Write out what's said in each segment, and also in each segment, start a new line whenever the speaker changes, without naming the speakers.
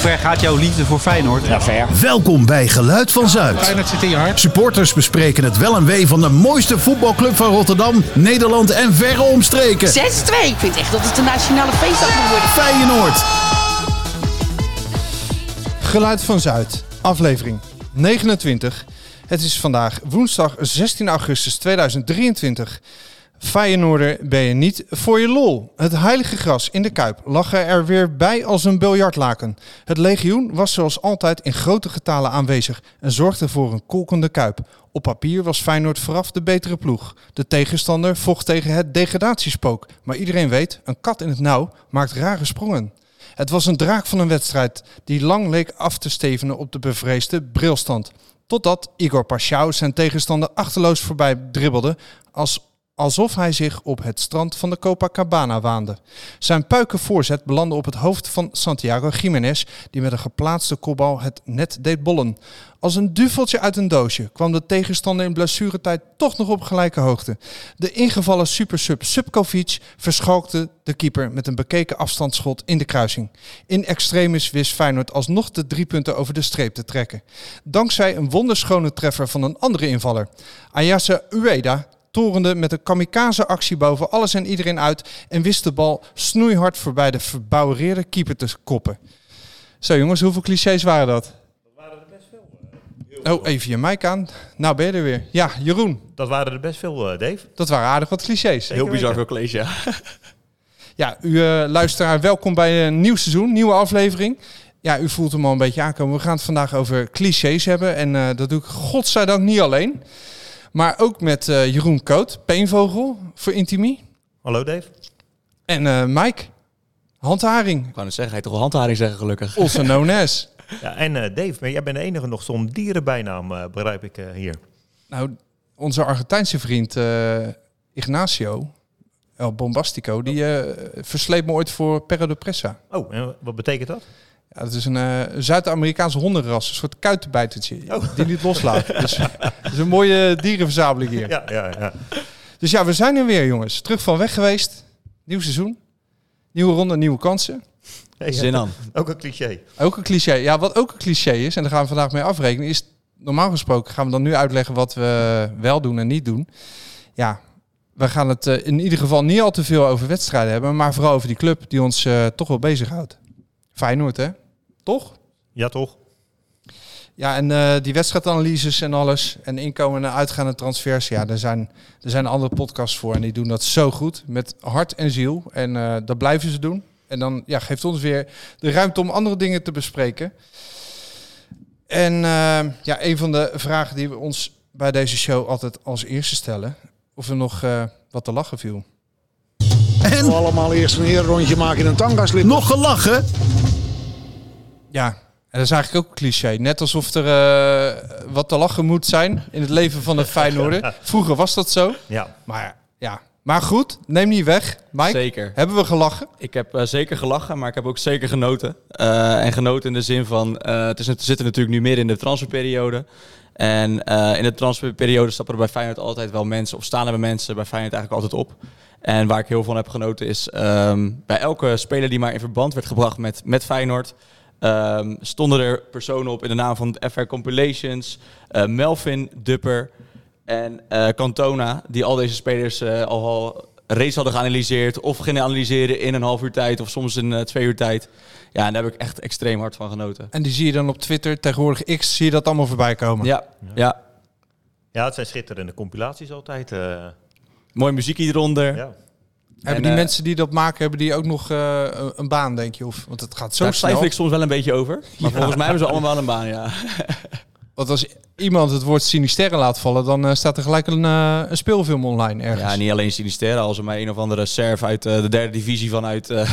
ver gaat jouw liefde voor Feyenoord?
Ja, ver.
Welkom bij Geluid van Zuid.
Feyenoord zit in je hart.
Supporters bespreken het wel en wee van de mooiste voetbalclub van Rotterdam, Nederland en verre omstreken.
6-2. Ik vind echt dat het een nationale feestdag moet worden.
Feyenoord.
Geluid van Zuid, aflevering 29. Het is vandaag woensdag 16 augustus 2023. Feyenoorder ben je niet voor je lol. Het heilige gras in de Kuip lag er er weer bij als een biljartlaken. Het legioen was zoals altijd in grote getalen aanwezig en zorgde voor een kolkende Kuip. Op papier was Feyenoord vooraf de betere ploeg. De tegenstander vocht tegen het degradatiespook. Maar iedereen weet, een kat in het nauw maakt rare sprongen. Het was een draak van een wedstrijd die lang leek af te stevenen op de bevreesde brilstand. Totdat Igor Paschou zijn tegenstander achterloos voorbij dribbelde, als, alsof hij zich op het strand van de Copacabana waande. Zijn puiken voorzet belandde op het hoofd van Santiago Jiménez, die met een geplaatste kopbal het net deed bollen. Als een duveltje uit een doosje kwam de tegenstander in blessuretijd toch nog op gelijke hoogte. De ingevallen supersub Subkovic verschalkte de keeper met een bekeken afstandsschot in de kruising. In extremis wist Feyenoord alsnog de drie punten over de streep te trekken. Dankzij een wonderschone treffer van een andere invaller. Ayase Ueda torende met een kamikaze actie boven alles en iedereen uit en wist de bal snoeihard voorbij de verbouwereerde keeper te koppen. Zo jongens, hoeveel clichés waren dat? Oh, even je mic aan. Nou ben je er weer. Ja, Jeroen,
Dat waren er best veel, eh, Dave.
dat waren aardig wat clichés.
Heel bizar
veel college, ja.
Ja, u eh, luisteraar, welkom bij een nieuw seizoen, nieuwe aflevering. Ja, u voelt hem al een beetje aankomen. We gaan het vandaag over clichés hebben. En eh, dat doe ik godzijdank niet alleen. Maar ook met eh, Jeroen Koot, Peenvogel voor Intimi.
Hallo, Dave.
En eh Mike, handharing,
Ik wou net zeggen, hij toch wel handharing zeggen, gelukkig.
also known as.
Ja, en eh, Dave, maar jij bent de enige nog zo'n dierenbijnaam, eh, begrijp ik eh, hier.
Nou, onze Argentijnse vriend eh, Ignacio El Bombastico, die eh, versleept me ooit voor Perro de Pressa.
Oh, en wat betekent dat?
Ja, dat is een eh Zuid-Amerikaans hondenras, een soort kuitenbijtertje, die niet loslaat. dus het is een mooie dierenverzameling hier.
Ja, ja, ja.
Dus ja, we zijn er weer jongens. Terug van weg geweest. Nieuw seizoen. Nieuwe ronde, nieuwe kansen.
Hey,
Zin
eh,
aan.
Ook een cliché.
Ook een cliché. Ja, wat ook een cliché is, en daar gaan we vandaag mee afrekenen, is normaal gesproken gaan we dan nu uitleggen wat we wel doen en niet doen. Ja, we gaan het eh, in ieder geval niet al te veel over wedstrijden hebben, maar vooral over die club die ons eh, toch wel bezighoudt. Feyenoord, hè? Toch?
Ja, toch?
Ja, en eh, die wedstrijdanalyses en alles. En inkomende en uitgaande transfers. Ja, daar zijn, er zijn andere podcasts voor. En die doen dat zo goed. Met hart en ziel. En eh, dat blijven ze doen. En dan ja, geeft ons weer de ruimte om andere dingen te bespreken. En eh, ja, een van de vragen die we ons bij deze show altijd als eerste stellen. Of er nog eh, wat te lachen viel.
En
allemaal eerst een rondje maken in een tangaslip.
nog gelachen?
Ja, en dat is eigenlijk ook een cliché. Net alsof er eh, wat te lachen moet zijn in het leven van een Feyenoorder. Vroeger was dat zo.
Ja.
Maar ja, maar goed, neem niet weg. Mike,
Zeker.
hebben we gelachen?
Ik heb eh, zeker gelachen, maar ik heb ook zeker genoten. Eh, en genoten in de zin van, eh, het is, we zitten natuurlijk nu midden in de transferperiode. En eh, in de transferperiode stappen er bij Feyenoord altijd wel mensen, of staan er bij mensen bij Feyenoord eigenlijk altijd op. En waar ik heel veel van heb genoten is, ehm, bij elke speler die maar in verband werd gebracht met, met Feyenoord, ehm, stonden er personen op in de naam van FR Compilations, eh, Melvin Dupper, En eh, Cantona, die al deze spelers eh, al, al reeds hadden geanalyseerd. Of gingen analyseren in een half uur tijd. Of soms in eh, twee uur tijd. Ja, en daar heb ik echt extreem hard van genoten.
En die zie je dan op Twitter, tegenwoordig X, zie je dat allemaal voorbij komen.
Ja, ja.
Ja, het zijn schitterende compilaties altijd. eh,
Mooi muziek hieronder.
ja.
hebben
En,
die
eh,
mensen die dat maken, hebben die ook nog eh, een- een baan, denk je? Of, want het gaat zo
Daar
snel.
twijfel ik soms wel een beetje over. Maar volgens mij hebben ze allemaal wel een baan, ja.
Want als iemand het woord sinisterre laat vallen, dan eh, staat er gelijk een, eh, een speelfilm online ergens.
Ja, niet alleen Sinisterra. Als er maar een of andere serve uit eh, de derde divisie vanuit eh,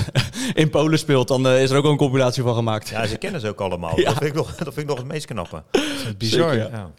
in Polen speelt... dan eh, is er ook wel een compilatie van gemaakt.
ja, ze kennen ze ook allemaal. Dat, vind ik nog, dat vind ik nog het meest knappe.
Bizar.
Zeker,
Ja.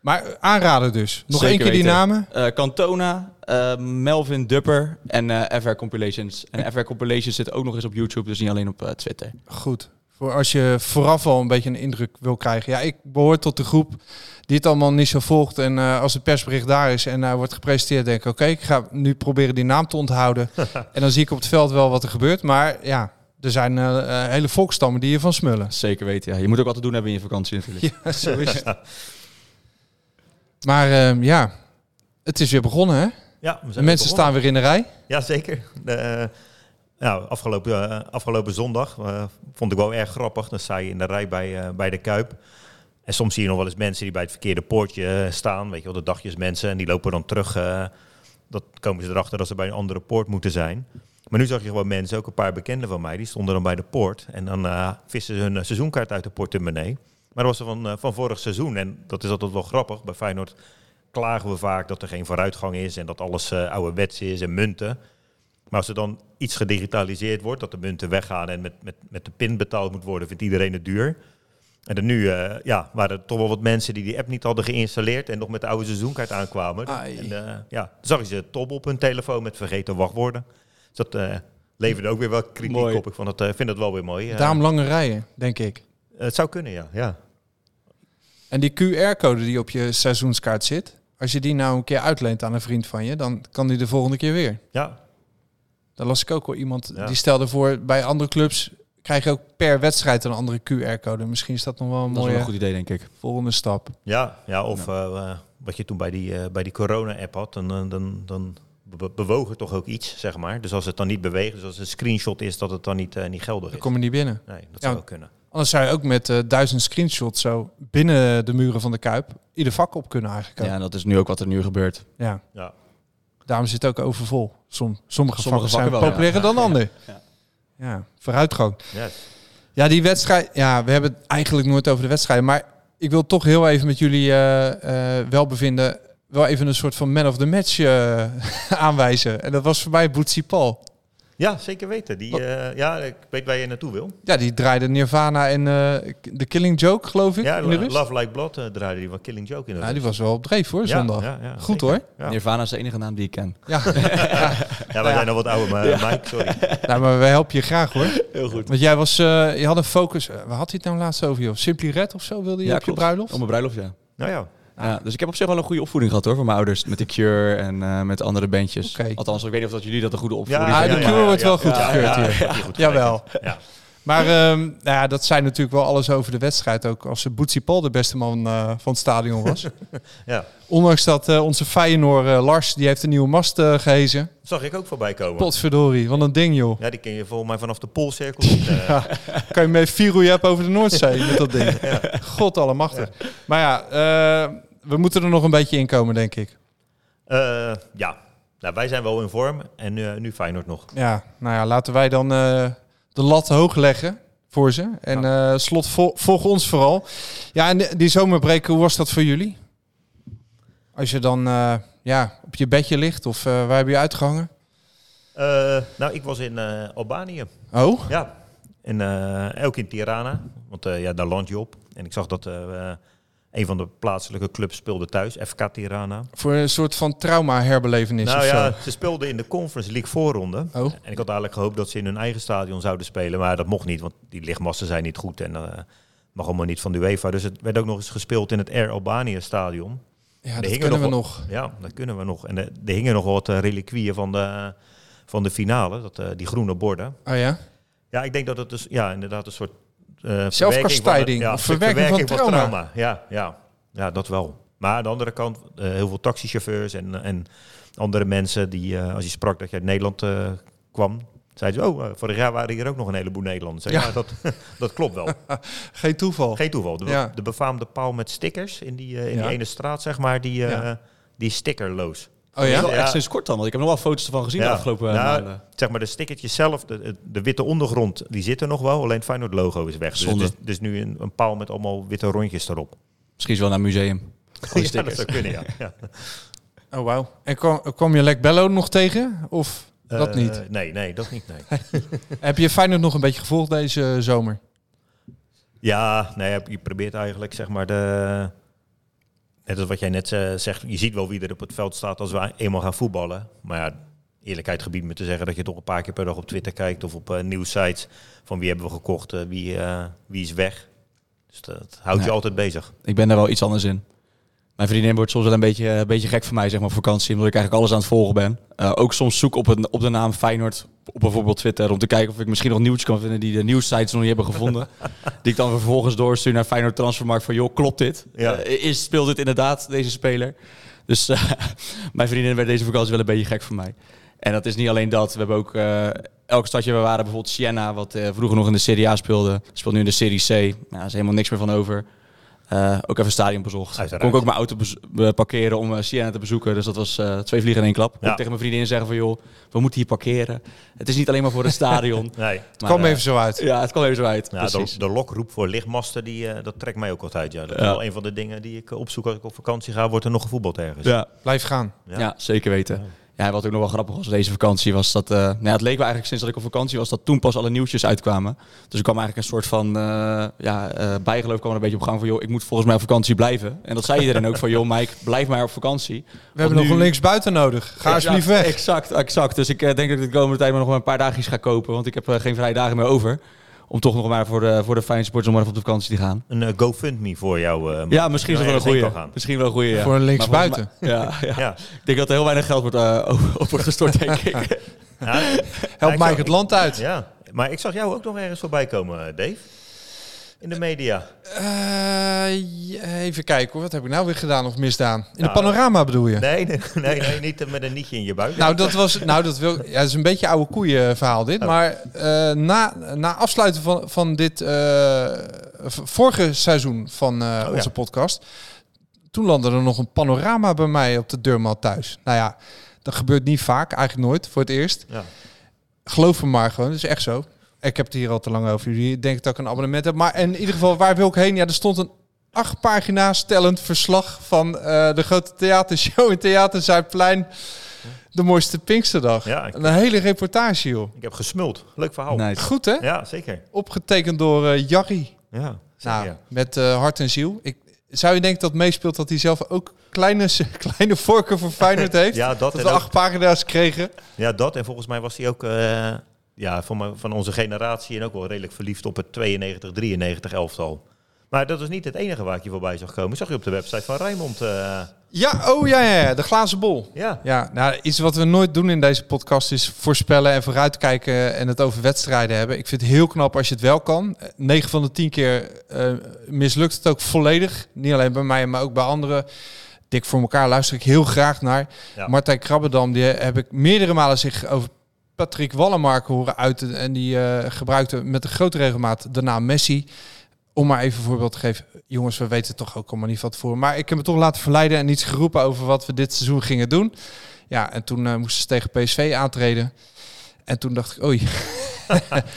Maar aanraden dus. Nog één
Zeker
keer die
weten.
namen.
Eh, Cantona, eh, Melvin Dupper en eh, FR Compilations. En FR Compilations zit ook nog eens op YouTube, dus niet alleen op eh, Twitter.
Goed. Voor als je vooraf al een beetje een indruk wil krijgen. Ja, ik behoor tot de groep die het allemaal niet zo volgt. En eh, als het persbericht daar is en hij wordt gepresenteerd, denk ik: oké, ik ga nu proberen die naam te onthouden. en dan zie ik op het veld wel wat er gebeurt. Maar ja, Er zijn eh, eh, hele volkstammen die ervan smullen.
Zeker weten, ja. Je moet ook wat te doen hebben in je vakantie natuurlijk.
Ja, zo is het. Maar ehm, ja, het is weer begonnen, hè?
Ja, we
De
zijn
mensen
weer
staan weer in de rij.
Jazeker. De, eh, nou, afgelopen, eh, afgelopen zondag eh, vond ik wel erg grappig. Dan sta je in de rij bij, eh, bij de Kuip. En soms zie je nog wel eens mensen die bij het verkeerde poortje eh, staan. Weet je wel, de dagjesmensen. En die lopen dan terug. eh, dat komen ze erachter dat ze bij een andere poort moeten zijn. Maar nu zag je gewoon mensen, ook een paar bekenden van mij, die stonden dan bij de poort. En dan eh vissen ze hun eh, seizoenkaart uit de portemonnee. Maar dat was er van, eh, van vorig seizoen. En dat is altijd wel grappig. Bij Feyenoord klagen we vaak dat er geen vooruitgang is en dat alles oude ouderwets is en munten. Maar als er dan iets gedigitaliseerd wordt, dat de munten weggaan en met, met, met de pin betaald moet worden, vindt iedereen het duur. En dan nu eh, ja, waren er toch wel wat mensen die die app niet hadden geïnstalleerd en nog met de oude seizoenkaart aankwamen.
Ai.
En eh, ja, dan zag je ze top op hun telefoon met vergeten wachtwoorden. Dus dat eh, leverde ook weer wel kritiek
Mooi.
op. Ik vond het, eh, vind dat wel weer mooi. Eh,
Daarom lange rijen, denk ik.
het zou kunnen, ja. ja.
En die QR-code die op je seizoenskaart zit, als je die nou een keer uitleent aan een vriend van je, dan kan die de volgende keer weer.
ja.
Daar las ik ook wel iemand
Ja.
die stelde voor bij andere clubs krijg je ook per wedstrijd een andere QR-code. Misschien is dat nog wel een
Dat is wel
mooie
een goed idee, denk ik.
volgende stap.
Ja, ja of eh, eh, wat je toen bij die, eh, bij die corona-app had, dan, eh, dan, dan be- bewoog het toch ook iets, zeg maar. Dus als het dan niet beweegt, dus als het een screenshot is, dat het dan niet, eh, niet geldig
Dan
is.
kom je niet binnen.
Nee, dat
Ja.
zou ook kunnen.
Anders zou je ook met eh, duizend screenshots zo binnen de muren van de Kuip ieder vak op kunnen eigenlijk.
Ja,
ook.
en dat is nu ook wat er nu gebeurt.
ja.
Ja.
Daarom zit het ook overvol. Som, sommige,
Sommige
vakken zijn
vakken wel, ja.
populairder dan anderen.
Ja.
Ja, vooruitgang.
Yes.
Ja, die wedstrijd. Ja, we hebben het eigenlijk nooit over de wedstrijd. Maar ik wil toch heel even met jullie eh, eh, welbevinden. Wel even een soort van man of the match eh, aanwijzen. En dat was voor mij Boetsie Paul.
ja, zeker weten. Die, eh, ja, ik weet waar je naartoe wil.
Ja, die draaide Nirvana en eh The Killing Joke, geloof ik.
Ja,
Hm? in de
Lo-
rust.
Love Like Blood eh, draaide die van Killing Joke in de
Ja, die
rust.
was wel op dreef hoor,
Ja,
zondag.
ja, ja,
Goed
zeker.
hoor.
Ja.
Nirvana is de enige naam die ik ken.
Ja,
Ja, wij zijn al wat ouder, maar Mike, sorry.
nou, maar we helpen je graag hoor.
Heel goed.
Want jij was, eh, je had een focus. eh, waar had hij het nou laatst over joh? Simply Red of zo wilde je op je bruiloft?
Op mijn bruiloft, ja.
Nou ja,
ja. Dus ik heb op zich wel een goede opvoeding gehad hoor, van mijn ouders. Met de Cure en eh, met andere bandjes.
Oké.
Althans, ik weet niet of dat jullie dat een goede opvoeding
ja,
Ah,
vinden.
de Cure wordt wel goed gekeurd hier.
die goed
Jawel.
gerekend. Ja.
Maar ehm, nou ja, dat zei natuurlijk wel alles over de wedstrijd. Ook als Boetsie Paul de beste man eh, van het stadion was.
ja,
Ondanks dat eh, onze Feyenoord eh, Lars, die heeft een nieuwe mast eh, gehezen.
zag ik ook voorbij komen.
Potverdorie, wat een ding joh.
Ja, die ken je volgens mij vanaf de Poolcirkel. niet, eh.
Kan je mee vier hoe je hebt over de Noordzee met dat ding. God Maar ja, eh, we moeten er nog een beetje in komen, denk ik.
Eh, ja, nou, wij zijn wel in vorm en eh, nu Feyenoord nog.
Ja, nou ja, laten wij dan eh, de lat hoog leggen voor ze. En eh, slot, vol- volg ons vooral. Ja, en die zomerbreak, hoe was dat voor jullie? Als je dan eh, ja, op je bedje ligt of eh, waar heb je uitgehangen?
Eh, nou, ik was in eh, Albanië.
Oh,
Ja. En eh, ook in Tirana. Want eh, ja, daar land je op. En ik zag dat eh, eh, een van de plaatselijke clubs speelde thuis, FK Tirana.
voor een soort van trauma-herbelevenis
Nou
of
ja,
zo.
ze speelden in de Conference League voorronde.
Oh.
En ik had eigenlijk gehoopt dat ze in hun eigen stadion zouden spelen. Maar dat mocht niet, want die lichtmassen zijn niet goed. En eh mag allemaal niet van de UEFA. Dus het werd ook nog eens gespeeld in het Air Albanië stadion.
Ja,
er
Ah, dat
hingen
kunnen we
nog
nog.
Ja, dat kunnen we nog. En eh, er hingen nog wat eh, reliquieën van de, van de finale, dat, eh, die groene borden.
Oh ja?
Ja, ik denk dat het dus ja, inderdaad een soort... eh,
Zelfkastijding
verwerking van het-
of verwerking van trauma.
Ja, ja, ja, dat wel. Maar aan de andere kant, eh, heel veel taxichauffeurs en, eh, en andere mensen die, eh, als je sprak dat je uit Nederland eh, kwam, zeiden ze, oh, eh, vorig jaar waren hier ook nog een heleboel Nederlanders. Ik zei,
Ja.
Ja, dat, dat klopt wel.
Geen toeval.
Geen toeval. De, be-
Ja.
de befaamde paal met stickers in die, eh, in
Ja.
die ene straat, zeg maar, die, eh,
Ja.
die is stickerloos.
Oh
Dat is
ja?
wel
Ja.
echt sinds kort dan, want ik heb nog wel foto's ervan gezien de afgelopen eh,
nou,
maanden.
zeg maar de stickertjes zelf, de, de witte ondergrond, die zit er nog wel. Alleen het Feyenoord logo is weg. Dus
Zonde.
het is- dus nu een, een paal met allemaal witte rondjes erop.
Misschien is wel naar een museum. Gewoon
ja, dat
stickers.
zou kunnen, ja. ja.
Oh wauw. En kwam, kwam je Lek Bello nog tegen? Of dat
Eh,
niet?
Nee, nee, dat niet, nee.
Heb je Feyenoord nog een beetje gevolgd deze zomer?
nou Ja, nee, je probeert eigenlijk zeg maar de. Net als wat jij net eh, zegt, je ziet wel wie er op het veld staat als we eenmaal gaan voetballen. Maar ja, eerlijkheid gebied me te zeggen dat je toch een paar keer per dag op Twitter kijkt of op eh, nieuwsites van wie hebben we gekocht, eh, wie, eh, wie is weg. Dus dat houdt
Nee.
je altijd bezig.
Ik ben daar wel iets anders in. Mijn vriendin wordt soms wel een beetje, eh, een beetje gek van mij, zeg maar, op vakantie. Omdat ik eigenlijk alles aan het volgen ben. Eh, ook soms zoek op, het, op de naam Feyenoord op bijvoorbeeld Twitter. Om te kijken of ik misschien nog nieuws kan vinden die de nieuwssites nog niet hebben gevonden. die ik dan vervolgens doorstuur naar Feyenoord Transfermarkt. Van joh, klopt dit?
Ja.
Eh, is, speelt dit inderdaad, deze speler? Dus eh, mijn vriendin werd deze vakantie wel een beetje gek van mij. En dat is niet alleen dat. We hebben ook eh, elk stadje waar we waren, bijvoorbeeld Siena, wat eh, vroeger nog in de Serie A speelde, speelt nu in de Serie C. Nou, daar is helemaal niks meer van over. Eh, ook even stadion bezocht.
Uiteraard.
Kon ik ook mijn auto bez- be- parkeren om eh, Siena te bezoeken. Dus dat was eh, twee vliegen in één klap.
Ja.
Ook tegen mijn vriendin zeggen van joh, we moeten hier parkeren. Het is niet alleen maar voor het stadion.
Nee.
Maar,
Kwam
eh,
even zo uit.
Ja, het kwam even zo uit.
Nou Ja, de,
precies.
de lokroep voor lichtmasten, die, eh, dat trekt mij ook altijd. Ja. Dat is
Ja.
wel een van de dingen die ik eh, opzoek als ik op vakantie ga. Wordt er nog gevoetbald ergens?
Ja.
Blijf gaan.
Ja.
Ja. zeker weten. Ja, wat ook nog wel grappig was deze vakantie was dat... eh, nou ja, het leek me eigenlijk sinds dat ik op vakantie was dat toen pas alle nieuwtjes uitkwamen. Dus ik kwam eigenlijk een soort van eh, ja, eh, bijgeloof kwam er een beetje op gang van... joh, ik moet volgens mij op vakantie blijven. En dat zei iedereen ook van joh Mike, blijf maar op vakantie.
We hebben nog een linksbuiten nodig. Ga alsjeblieft weg.
Exact, exact. Dus ik eh, denk dat ik de komende tijd maar nog maar een paar dagjes ga kopen. Want ik heb eh, geen vrije dagen meer over. Om toch nog maar voor de, voor de fijne sports om maar even op de vakantie te gaan.
Een eh, GoFundMe voor jou. eh,
Ja, misschien is dat wel een
ergens heen kan
goede.
gaan.
Misschien wel een goede. Ja.
Voor een
Maar
linksbuiten.
volgens mij- Ja, ja.
Ja.
Ik denk dat er heel weinig geld wordt, eh, op- op wordt gestort, denk ik.
Ja,
Help
ik
Mike
zag-
het land uit.
Ja, maar ik zag jou ook nog ergens voorbij komen, eh, Dave. In de media.
Eh, even kijken hoor. Wat heb ik nou weer gedaan of misdaan? In
Nou,
de panorama bedoel je?
Nee, nee, nee, nee, niet eh, met een nietje in je buik.
Nou, dat was. Nou, dat wil. Ja, dat is een beetje oude koeien verhaal
Oh.
dit. Maar eh, na, na afsluiten van, van dit eh, v- vorige seizoen van eh,
Oh, ja.
onze podcast. Toen landde er nog een panorama bij mij op de deurmat thuis. Nou ja, dat gebeurt niet vaak, eigenlijk nooit voor het eerst.
Ja.
Geloof me maar gewoon, dat is echt zo. Ik heb het hier al te lang over. Jullie denken dat ik een abonnement heb. Maar in ieder geval, waar wil ik heen? Ja, er stond een acht pagina stellend verslag van eh, de grote theatershow in Theater Zuidplein. De mooiste Pinksterdag.
Ja, ik-
een hele reportage, joh.
Ik heb gesmuld. Leuk verhaal.
Goed, hè?
Ja, zeker.
Opgetekend door eh Jarry.
Ja, zeker.
Nou,
ja.
met eh, hart en ziel. Ik, zou je denken dat meespeelt dat hij zelf ook kleine, kleine voorkeur voor Feyenoord heeft?
Ja, dat en
we
ook-
acht pagina's kregen.
Ja, dat. En volgens mij was hij ook eh, ja, van, mijn- van onze generatie en ook wel redelijk verliefd op het 92-93 elftal. Maar dat was niet het enige waar ik je voorbij zag komen. Zag je op de website van Rijnmond. eh,
Ja, oh ja, ja, ja, de glazen bol.
ja.
Ja, nou, iets wat we nooit doen in deze podcast is voorspellen en vooruitkijken en het over wedstrijden hebben. Ik vind het heel knap als je het wel kan. 9 van de 10 keer eh, mislukt het ook volledig. Niet alleen bij mij, maar ook bij anderen. Dik voor elkaar luister ik heel graag naar.
Ja.
Martijn Krabbedam, die heb ik meerdere malen zich over Patrick Wallenmarken horen uiten. En die eh, gebruikte met een grote regelmaat de naam Messi. Om maar even een voorbeeld te geven. Jongens, we weten het toch ook allemaal niet van tevoren. Maar ik heb me toch laten verleiden en iets geroepen over wat we dit seizoen gingen doen. Ja, en toen eh, moesten ze tegen PSV aantreden. En toen dacht ik, oei,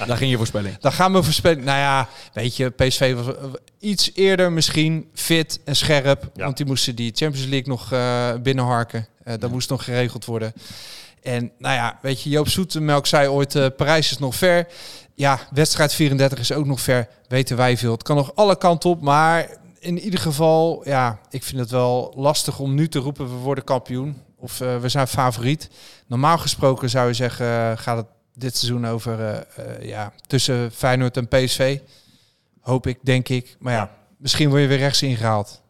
Daar ging je voorspelling.
dan gaan we voorspellen. Nou ja, weet je, PSV was eh, iets eerder misschien fit en scherp.
Ja.
Want die moesten die Champions League nog eh, binnenharken. Eh dat moest nog geregeld worden. En nou ja, weet je, Joop Zoetemelk zei ooit, eh, Parijs is nog ver. Ja, wedstrijd 34 is ook nog ver, weten wij veel. Het kan nog alle kanten op, maar in ieder geval, ja, ik vind het wel lastig om nu te roepen, we worden kampioen. Of eh, we zijn favoriet. Normaal gesproken zou je zeggen, eh, gaat het dit seizoen over eh, eh, ja, tussen Feyenoord en PSV. Hoop ik, denk ik. Maar ja,
Ja.
misschien word je weer rechts ingehaald.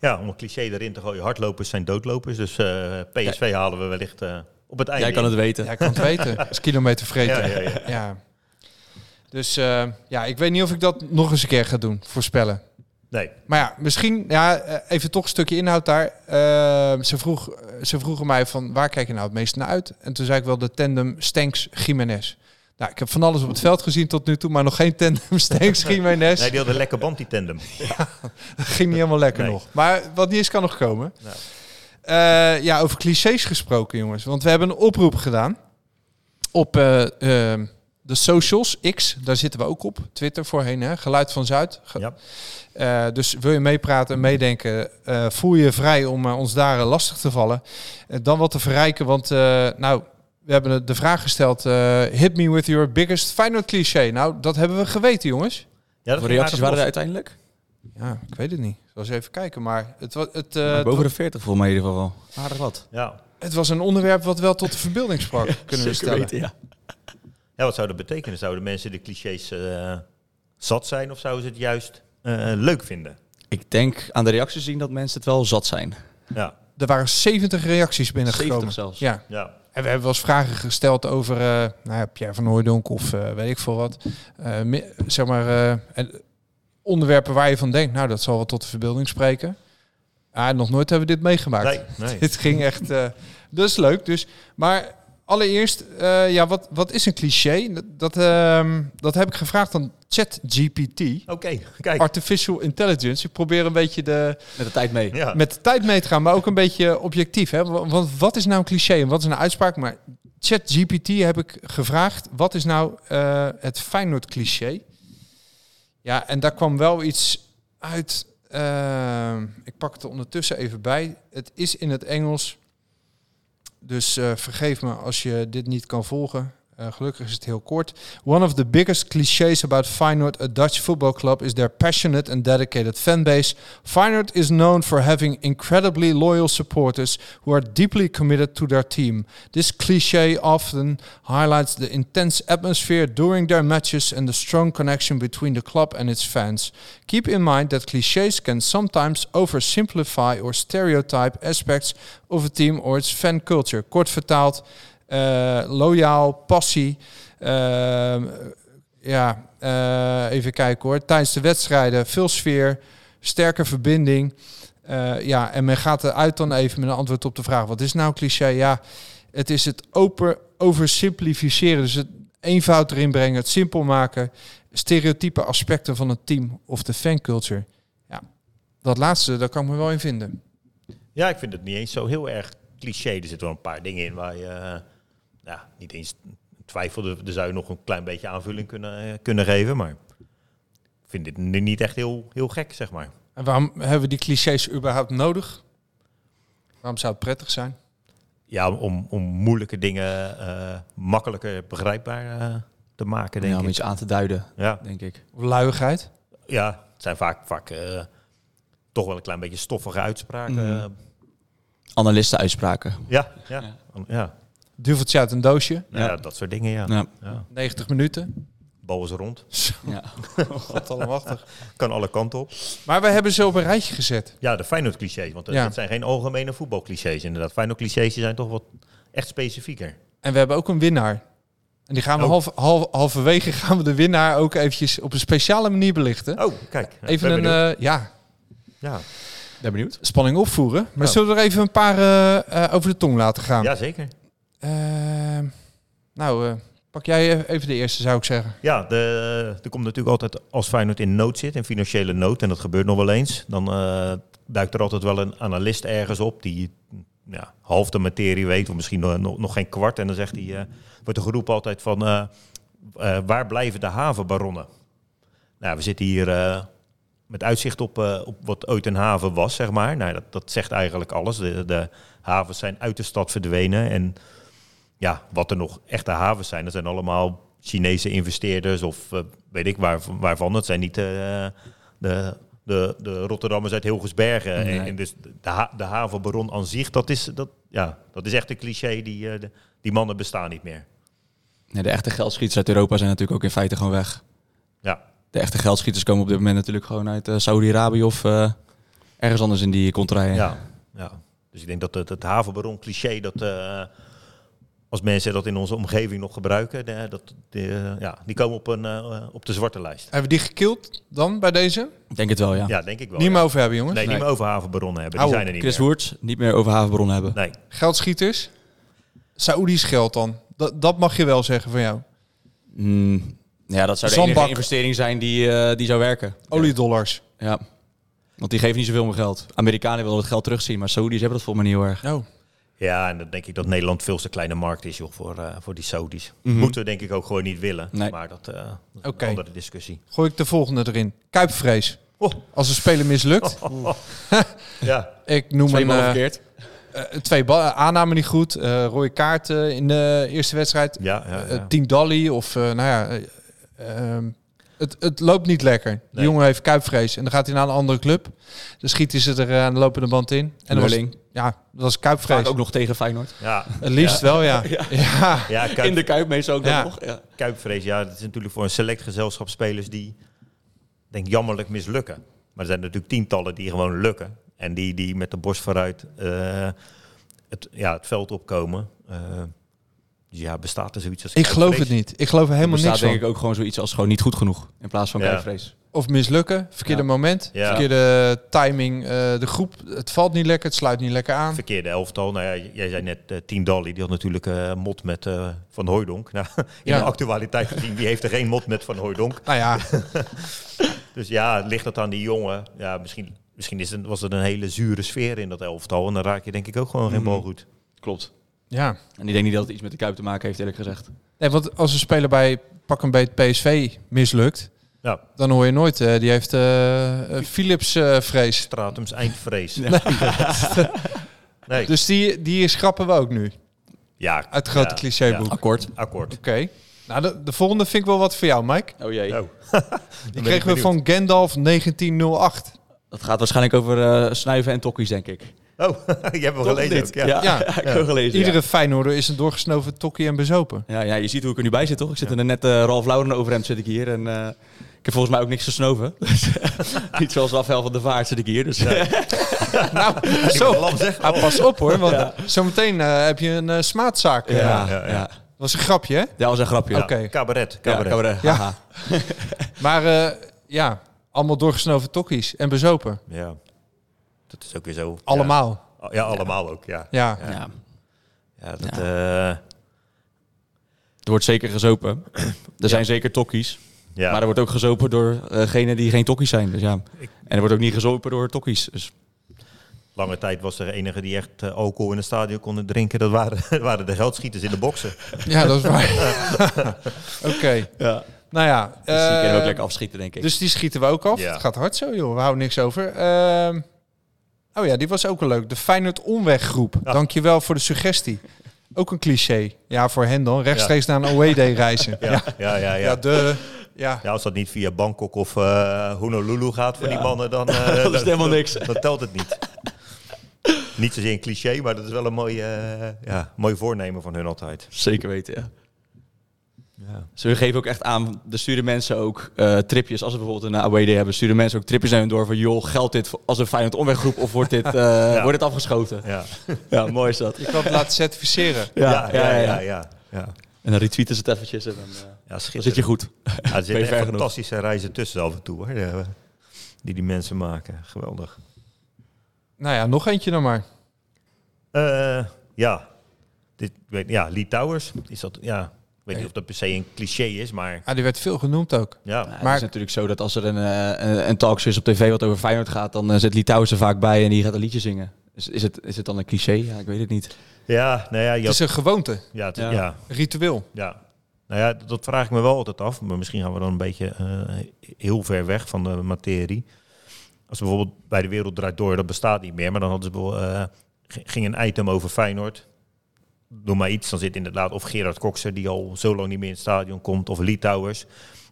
ja, om een cliché erin te gooien. Hardlopers zijn doodlopers. Dus eh, PSV halen we wellicht eh, op het einde.
Jij kan het weten.
Jij kan het weten. Dat is kilometer vreten. Ja,
Ja, ja, ja.
Dus eh, ja, ik weet niet of ik dat nog eens een keer ga doen, voorspellen.
Nee.
Maar ja, misschien, ja, eh, even toch een stukje inhoud daar. Eh, ze, vroeg, ze vroegen mij van waar kijk je nou het meest naar uit? En toen zei ik wel de tandem Stenks-Gimenez. Nou, ik heb van alles op het veld gezien tot nu toe, maar nog geen tandem Stenks-Gimenez.
Nee, die hadden een lekker band, die tandem.
ging niet helemaal lekker
Nee.
nog. Maar wat niet is, kan nog komen.
Nou.
Eh, ja, over clichés gesproken, jongens. Want we hebben een oproep gedaan op eh, eh, de socials, X. Daar zitten we ook op. Twitter voorheen, hè? Geluid van Zuid. Ge-
Ja.
eh, dus wil je meepraten en meedenken, eh, voel je vrij om eh, ons daar eh, lastig te vallen. Eh, dan wat te verrijken, want eh, nou, we hebben de- de vraag gesteld, eh, hit me with your biggest Feyenoord cliché. Nou, dat hebben we geweten, jongens.
Ja,
Voor reacties waren er
er
uiteindelijk?
Ja, ik weet het niet. Ik zal eens even kijken, maar het, wa- het, eh,
Maar
het, wa-
boven de 40 voor mij in ieder geval wel. Aardig wat.
Ja.
het was een onderwerp wat wel tot de verbeelding sprak, kunnen we stellen.
ja.
ja, wat zou dat betekenen? Zouden mensen de clichés eh, zat zijn of zouden ze het juist eh, leuk vinden?
Ik denk aan de reacties zien dat mensen het wel zat zijn.
Ja,
Er waren 70 reacties binnengekomen.
70 zelfs.
Ja.
ja.
En we hebben wel eens vragen gesteld over eh, nou ja, Pierre van Hooijdonk of eh, weet ik veel wat. Eh, mi- zeg maar, eh, en onderwerpen waar je van denkt, nou dat zal wel tot de verbeelding spreken. Ah, nog nooit hebben we dit meegemaakt.
Nee, nee.
Dit ging echt... eh dat is leuk. Dus, maar allereerst, eh, ja, wat, wat is een cliché? Dat, dat, ehm, dat heb ik gevraagd aan ChatGPT.
Oké, kijk.
Artificial Intelligence. Ik probeer een beetje de,
Met de tijd mee.
Ja.
met de tijd mee te gaan, maar ook een beetje objectief. Hè? Wa- Want wat is nou een cliché en wat is een uitspraak? Maar ChatGPT heb ik gevraagd, wat is nou eh, het Feyenoord cliché? Ja, en daar kwam wel iets uit. eh, ik pak het er ondertussen even bij. Het is in het Engels. Dus eh, vergeef me als je dit niet kan volgen. Eh, gelukkig is het heel kort. One of the biggest clichés about Feyenoord, a Dutch football club, is their passionate and dedicated fanbase. Feyenoord is known for having incredibly loyal supporters who are deeply committed to their team. This cliche often highlights the intense atmosphere during their matches and the strong connection between the club and its fans. Keep in mind that cliches can sometimes oversimplify or stereotype aspects of a team or its fan culture. Kort vertaald, eh, loyaal, passie. ehm, ja, eh, even kijken hoor. Tijdens de wedstrijden veel sfeer, sterke verbinding. Eh, ja, en men gaat eruit dan even met een antwoord op de vraag: wat is nou een cliché? Ja, het is het open, oversimplificeren. Dus het eenvoud erin brengen, het simpel maken. Stereotype aspecten van het team of de fanculture. Ja, dat laatste, daar kan ik me wel in vinden.
ja, ik vind het niet eens zo heel erg cliché. Er zitten wel een paar dingen in waar je eh, ja, niet eens twijfelde. Er zou je nog een klein beetje aanvulling kunnen, eh, kunnen geven. Maar ik vind dit nu niet echt heel, heel gek, zeg maar.
En waarom hebben we die clichés überhaupt nodig? Waarom zou het prettig zijn?
Ja, om, om moeilijke dingen eh, makkelijker begrijpbaar eh, te maken, denk
Ja, om
ik.
iets aan te duiden,
Ja,
denk ik.
Of luiigheid?
ja, het zijn vaak, vaak eh, toch wel een klein beetje stoffige uitspraken. eh,
Analistenuitspraken.
ja, ja, ja. ja.
Duveltje uit een doosje?
Nou
Ja.
ja, dat soort dingen, ja.
Ja.
ja.
90 minuten?
Bal is rond.
ja.
God allemachtig.
Kan alle kanten op.
Maar we hebben ze op een rijtje gezet.
Ja, de Feyenoord clichés. Want dat,
Ja.
dat zijn geen algemene voetbalclichés. Inderdaad, Feyenoord clichés zijn toch wat echt specifieker.
En we hebben ook een winnaar. En die gaan we
Oh.
half, half, halverwege gaan we de winnaar ook eventjes op een speciale manier belichten.
Oh, kijk. Ik
Even
ben
een,
benieuwd.
eh, ja,
ja.
Ben benieuwd.
spanning opvoeren. Maar
Ja.
zullen we er even een paar eh, eh, over de tong laten gaan?
ja, zeker.
Ehm, nou, eh, pak jij even de eerste, zou ik zeggen.
Ja, de, er komt natuurlijk altijd als Feyenoord in nood zit, in financiële nood, en dat gebeurt nog wel eens, dan eh, duikt er altijd wel een analist ergens op die ja, half de materie weet, of misschien nog, nog- nog geen kwart. En dan zegt hij, eh, wordt de geroep altijd van, eh, eh, waar blijven de havenbaronnen? Nou, we zitten hier eh, met uitzicht op, eh, op wat ooit een haven was, zeg maar. Nou, dat, dat zegt eigenlijk alles. De, de havens zijn uit de stad verdwenen en ja, wat er nog echte havens zijn, dat zijn allemaal Chinese investeerders of eh, weet ik waar, waarvan. Dat zijn niet eh, de, de, de Rotterdammers uit Hilgersbergen. En- En, dus de, ha- de havenbaron aan zich, dat is, dat, ja, dat is echt een cliché. Die, eh, de- die mannen bestaan niet meer.
Nee, de echte geldschieters uit Europa zijn natuurlijk ook in feite gewoon weg.
Ja,
De echte geldschieters komen op dit moment natuurlijk gewoon uit eh, Saudi-Arabië of eh, ergens anders in die contraien.
ja, ja. Dus ik denk dat het, het havenbaron cliché dat... eh, als mensen dat in onze omgeving nog gebruiken, de- dat, de- ja, die komen op, een, eh, op de zwarte lijst.
Hebben we die gekild dan bij deze?
Ik denk het wel, ja.
Ja, denk ik wel.
niet
Oh, ja.
meer over hebben, jongens.
Nee, niet meer over havenbaronnen hebben. Die
Hou op,
zijn er niet
Chris
meer.
Woerts, niet meer over havenbron hebben.
Nee.
Geldschieters? Saoedisch geld dan. Dat, dat mag je wel zeggen van jou.
Mm, ja, dat zou de
Zandbak.
enige investering zijn die, eh, die zou werken.
Oliedollars.
Ja. Want die geven niet zoveel meer geld. Amerikanen willen het geld terugzien, maar Saoedi's hebben dat volgens mij niet heel erg.
Oh.
Nou,
Ja, en dan denk ik dat Nederland veel te kleine markt is joh, voor, eh, voor die Saudis. Moeten we denk ik ook gewoon niet willen.
Nee.
Maar dat, eh dat is
Mhm. Oké.
een andere discussie.
gooi ik de volgende erin. Kuipvrees.
Oh.
Als een speler mislukt.
Ja,
Ik noem
Twee
hem
maal
eh,
verkeerd.
eh, twee ba- aanname niet goed. eh rode kaart eh, in de eerste wedstrijd.
ja, ja,
Eh,
ja.
Team Dally of eh, nou ja. eh, ehm, het, het loopt niet lekker. De
Nee.
jongen heeft kuipvrees. En dan gaat hij naar een andere club. Dan schiet hij ze er eh, aan de lopende band in. En dan was,
Lulling.
ja, dat was
Vaak
kuipvrees.
ook nog tegen Feyenoord.
ja.
Het liefst wel, ja. ja.
Ja, Kuip-
In de Kuip meestal ook
Ja.
dan nog. Ja.
Kuipvrees, ja, dat is natuurlijk voor een select gezelschap spelers die, denk ik, jammerlijk mislukken. Maar er zijn natuurlijk tientallen die gewoon lukken. En die, die met de borst vooruit eh, het, ja, het veld opkomen. Eh, dus ja, bestaat er zoiets als
Ik geloof het
vrees?
niet. Ik geloof er helemaal
bestaat
niks van.
denk ik ook gewoon zoiets als gewoon niet goed genoeg. In plaats van
Ja.
kijkvrees.
Of mislukken, verkeerde
Ja.
moment,
Ja.
verkeerde timing, eh, de groep. Het valt niet lekker, het sluit niet lekker aan.
Verkeerde elftal. Nou ja, jij zei net eh Team Dali, die had natuurlijk eh, mot met eh, Van Hooijdonk. Nou, in
Ja.
de actualiteit gezien, die heeft er geen mot met Van Hooijdonk.
Nou ja,
Dus ja, ligt dat aan die jongen? Ja, misschien, misschien is het, was het een hele zure sfeer in dat elftal. En dan raak je denk ik ook gewoon
Mhm.
geen bal goed.
Klopt.
ja.
En ik denk niet dat het iets met de Kuip te maken heeft, eerlijk gezegd.
Nee, want als een speler bij pak een beet PSV mislukt,
Nou,
dan hoor je nooit, eh, die heeft eh, eh, Philips eh, vrees.
Stratums eindvrees.
Ja.
Nee.
Dus die, die schrappen we ook nu
Ja,
uit het grote
ja,
clichéboek.
ja.
Oké.
Akkoord.
Akkoord.
Nou, de, de volgende vind ik wel wat voor jou, Mike.
Oh jee.
Oh,
Die
ben ik
kregen we van Gandalf 1908.
Dat gaat waarschijnlijk over eh, snuiven en tokkies, denk ik.
Oh, je hebt wel
Toch
gelezen.
of
ook,
niet?
Ja.
Ja,
Ja.
ik heb ook gelezen. ja.
Iedere Feyenoorder is een doorgesnoven tokkie en bezopen.
Ja, ja, je ziet hoe ik er nu bij zit, toch? Ik zit in een net eh Ralf Lauren overhemd zit ik hier. En eh, ik heb volgens mij ook niks gesnoven. Dus, Niet zoals Rafael van der Vaart zit ik hier. Dus
nou,
Ik wil
zo.
Lam zeggen.
Ah, pas op hoor, want zometeen eh, heb je een eh, smaadzaak. eh.
ja,
ja,
ja,
ja.
ja.
Dat was een grapje, hè?
dat was een grapje.
Oké.
Cabaret.
Ja,
cabaret.
cabaret,
Ja.
haha.
Maar eh, ja, allemaal doorgesnoven tokkies en bezopen.
Ja. Dat is ook weer zo.
Allemaal.
Ja, ja allemaal ook. Ja.
Ja.
Ja.
ja dat, eh,
Er wordt zeker gezopen. Er zijn zeker tokkies.
ja.
Maar er wordt ook gezopen door degenen die geen tokkies zijn. Dus ja. En er wordt ook niet gezopen door tokkies. Dus
Lange tijd was er enige die echt eh, alcohol in het stadion konden drinken. Dat waren, dat waren de geldschieters in de boksen.
Ja, dat is waar. Oké.
ja.
Nou ja.
Dus die kunnen we ook
eh,
lekker afschieten, denk ik.
dus die schieten we ook af.
Ja.
Het gaat hard zo, joh. We houden niks over. Ehm, oh ja, die was ook wel leuk. De Feyenoord Onweggroep. Dankjewel voor de suggestie. Ook een cliché. Ja, voor hen dan. Rechtstreeks naar een away day reizen. Ja,
Ja, ja, ja. ja.
ja de... Ja.
Ja, als dat niet via Bangkok of eh, Honolulu gaat voor die mannen, dan, eh,
is
dan-
het helemaal
dan-
niks.
Dan, telt het niet. niet zozeer een cliché, maar dat is wel een mooi, eh, ja, mooi voornemen van hun altijd.
Zeker weten, ja.
Ja.
Ze geven ook echt aan, er sturen mensen ook eh, tripjes. Als we bijvoorbeeld een AWD hebben, sturen mensen ook tripjes naar hun door. Van joh, geldt dit voor- als een Feyenoord omweggroep of wordt dit, eh, wordt dit afgeschoten?
Ja.
Ja, mooi is dat.
Je kan het laten certificeren.
Ja,
ja, ja, ja, ja. ja.
En dan retweeten ze het eventjes en dan, eh,
Ja,
dan zit je
schitterend.
goed.
Ja, er
Ben je
zitten
ver
echt
genoeg.
fantastische reizen tussen af en toe, hoor. eh, Die die mensen maken. Geweldig.
Nou ja, nog eentje dan maar.
Eh, ja. Dit, ik weet, ja, Lee Towers. Is dat, ja. Ik weet niet of dat per se een cliché is, maar
Ah, die werd veel genoemd ook.
ja.
maar het is natuurlijk zo dat als er een, eh, een, een talkshow is op tv wat over Feyenoord gaat, dan eh, zit Litouwers er vaak bij en die gaat een liedje zingen. Is, is, het, is het dan een cliché? Ja, ik weet het niet.
Ja, nou ja, je
Het is
had-
een gewoonte,
ja, het-
Ja.
ja,
een ritueel.
Ja. Nou ja, dat- dat vraag ik me wel altijd af. Maar misschien gaan we dan een beetje eh, heel ver weg van de materie. Als we bijvoorbeeld bij de Wereld Draait Door, dat bestaat niet meer. Maar dan hadden ze bijvoorbeeld, eh, g- ging een item over Feyenoord. Noem maar iets. Dan zit inderdaad of Gerard Kokser, die al zo lang niet meer in het stadion komt. Of Litouwers.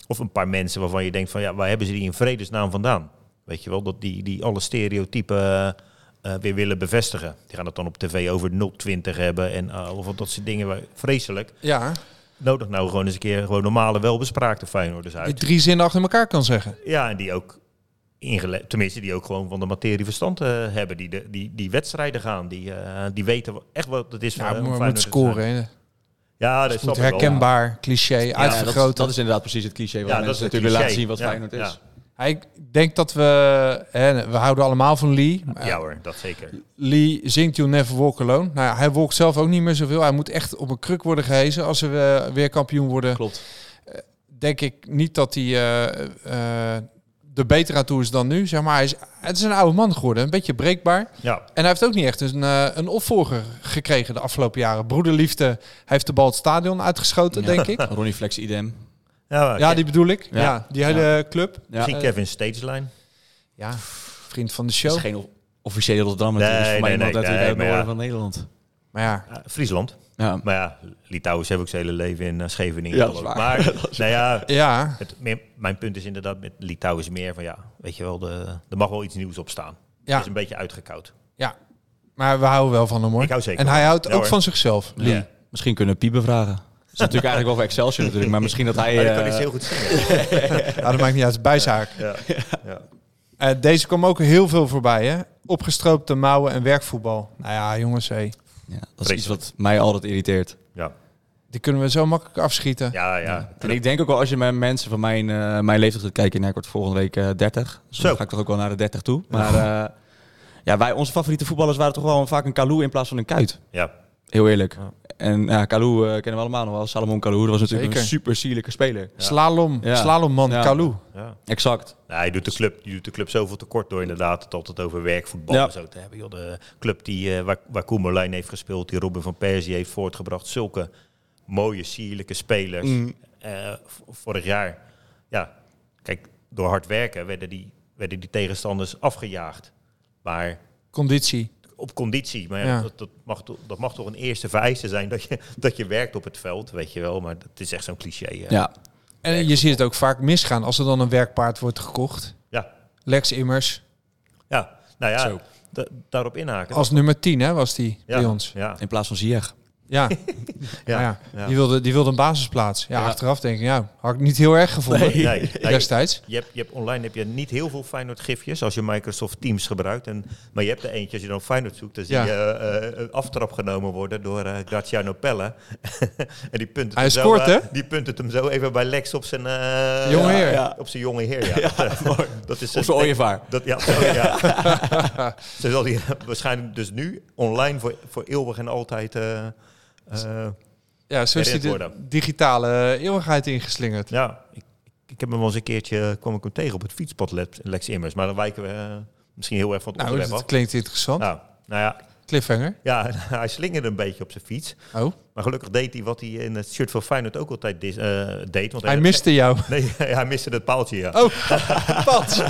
Of een paar mensen waarvan je denkt van, ja, waar hebben ze die in vredesnaam vandaan? Weet je wel, dat die, die alle stereotypen... eh, eh, weer willen bevestigen. Die gaan het dan op tv over 020 hebben en eh, of dat soort dingen. waar- Vreselijk
Ja,
nodig nou gewoon eens een keer gewoon normale, welbespraakte Feyenoorders
die
uit.
drie zinnen achter elkaar kan zeggen.
Ja, en die ook ingele- tenminste die ook gewoon van de materie verstand eh, hebben, die, de, die, die wedstrijden gaan, die, eh, die weten wa- echt wat het is
Ja,
eh, om
moet, moet
Feyenoorder te
scoren.
zijn.
hè.
Ja, dat
Het
snap
moet
ik wel.
herkenbaar, cliché,
Ja, dat,
uitvergroot.
dat is inderdaad precies het cliché waar
Ja, dat is
mensen
het
natuurlijk willen laten
cliché.
zien wat
Ja,
Feyenoord is.
ja.
Ja, Ik denk dat we... Hè, we houden allemaal van Lee. Maar
Ja hoor, dat zeker.
Lee zingt You'll Never Walk Alone. Nou, ja, hij walkt zelf ook niet meer zoveel. Hij moet echt op een kruk worden gehezen als ze eh, weer kampioen worden.
Klopt.
Denk ik niet dat hij eh, eh, er beter aan toe is dan nu. Zeg maar, hij is, het is een oude man geworden, een beetje breekbaar.
Ja,
En hij heeft ook niet echt een, eh, een opvolger gekregen de afgelopen jaren. Broederliefde, hij heeft de bal het stadion uitgeschoten, denk ik.
Ronnie Flex idem.
ja,
Ja, die bedoel ik. Ja,
Ja.
die hele club.
Ja,
misschien
eh,
Kevin Stageline.
Ja, vriend van de
het
show.
is geen of- officiële Rotterdammer.
Nee,
het is voor mij
nee,
iemand
nee,
uit de-
nee,
uit het
maar
noorden
ja.
van Nederland.
Maar ja,
Ja, eh, Friesland.
Ja.
Maar ja, Litouwers heeft ook zijn hele leven in eh, Scheveningen
Ja, dat is
gelopen.
waar.
Maar nou ja,
ja,
het, meer- mijn punt is inderdaad met Litouwers meer van ja, weet je wel, de, er mag wel iets nieuws op staan.
Ja.
Het is een beetje uitgekoud.
ja. Maar we houden wel van hem hoor.
Ik hou zeker
en hij
van
houdt
hem. Ja,
ook
hoor.
van zichzelf.
Lee, Misschien kunnen we Piepen vragen. Dat is natuurlijk eigenlijk wel voor Excelsior natuurlijk, maar misschien dat hij...
Maar dat kan
eh,
ik heel goed zien.
Ja, dat maakt niet uit, het is bijzaak.
Ja. Ja.
Eh, deze kwam ook heel veel voorbij, hè? Opgestroopte mouwen en werkvoetbal. Nou ja, jongens, hé.
Ja, dat is iets wat mij altijd irriteert.
Ja,
Die kunnen we zo makkelijk afschieten.
ja, ja.
En ik denk ook wel, als je met mensen van mijn, eh, mijn leeftijd gaat kijken, nou, ik word volgende week eh, 30. Dus
Zo.
dan ga ik toch ook wel naar de 30 toe. Maar eh, ja, wij, onze favoriete voetballers waren toch wel vaak een Kalou in plaats van een Kuit.
ja.
Heel eerlijk. En ja, Kalou eh, kennen we allemaal nog wel. Salomon Kalou, dat was natuurlijk
Zeker.
een super sierlijke speler.
Slalom,
Ja.
slalomman,
Ja.
Kalou.
ja.
Exact.
Nou, je, doet de club, je doet de club zoveel tekort door inderdaad het altijd over werkvoetbal
Ja.
en zo te hebben. Joh, de club die, eh, waar, waar Koemerlijn heeft gespeeld, die Robin van Persie heeft voortgebracht. Zulke mooie, sierlijke spelers.
Mm.
Eh, v- vorig jaar, ja, kijk, door hard werken werden die, werden die tegenstanders afgejaagd. Maar
Conditie.
op conditie. Maar ja,
Ja.
Dat, dat, mag, toch- dat mag toch een eerste vereiste zijn dat je, dat je werkt op het veld, weet je wel. Maar dat is echt zo'n cliché. eh.
Ja.
En je ziet het ook vaak misgaan als er dan een werkpaard wordt gekocht.
ja.
Lex Immers,
Ja, nou ja,
Zo.
da- daarop inhaken.
als nummer 10 hè, was die
ja.
bij ons.
Ja,
In plaats van Ziyech.
Ja,
ja.
Nou ja,
ja.
Die, wilde, die wilde een basisplaats. Ja,
Ja.
achteraf denk ik, ja, had ik niet heel erg gevonden
Nee, nee.
destijds.
Je hebt, je hebt online heb je niet heel veel Feyenoord gifjes als je Microsoft Teams gebruikt. En, maar je hebt er eentje, als je dan Feyenoord zoekt, dan zie
Ja.
je eh, eh, een aftrap genomen worden door eh, Graziano Pelle. en die punt
Hij scoort, hè?
Die punt het hem zo even bij Lex op zijn... eh,
Jonge heer.
ja.
Op zijn jonge heer, ja. dat, is
Of zijn
een-
ooievaar.
Dat, ja, zo, ja. Zo zal hij waarschijnlijk dus nu online voor, voor eeuwig en altijd... eh, eh,
Ja, zo is die
Herinnerd
de
worden.
digitale eh, eeuwigheid ingeslingerd.
ja, ik, ik heb hem wel eens een keertje... kwam ik hem tegen op het fietspad, Lex- Lex Immers. Maar dan wijken we eh, misschien heel erg van het
nou,
onderwerp
dat
af.
klinkt interessant.
Nou, nou ja,
Cliffhanger.
ja, hij slingerde een beetje op zijn fiets.
Oh,
Maar gelukkig deed hij wat hij in het shirt van Feyenoord ook altijd dis- eh, deed. Want
hij miste Oh. jou.
Nee, hij miste het paaltje, ja.
Pat.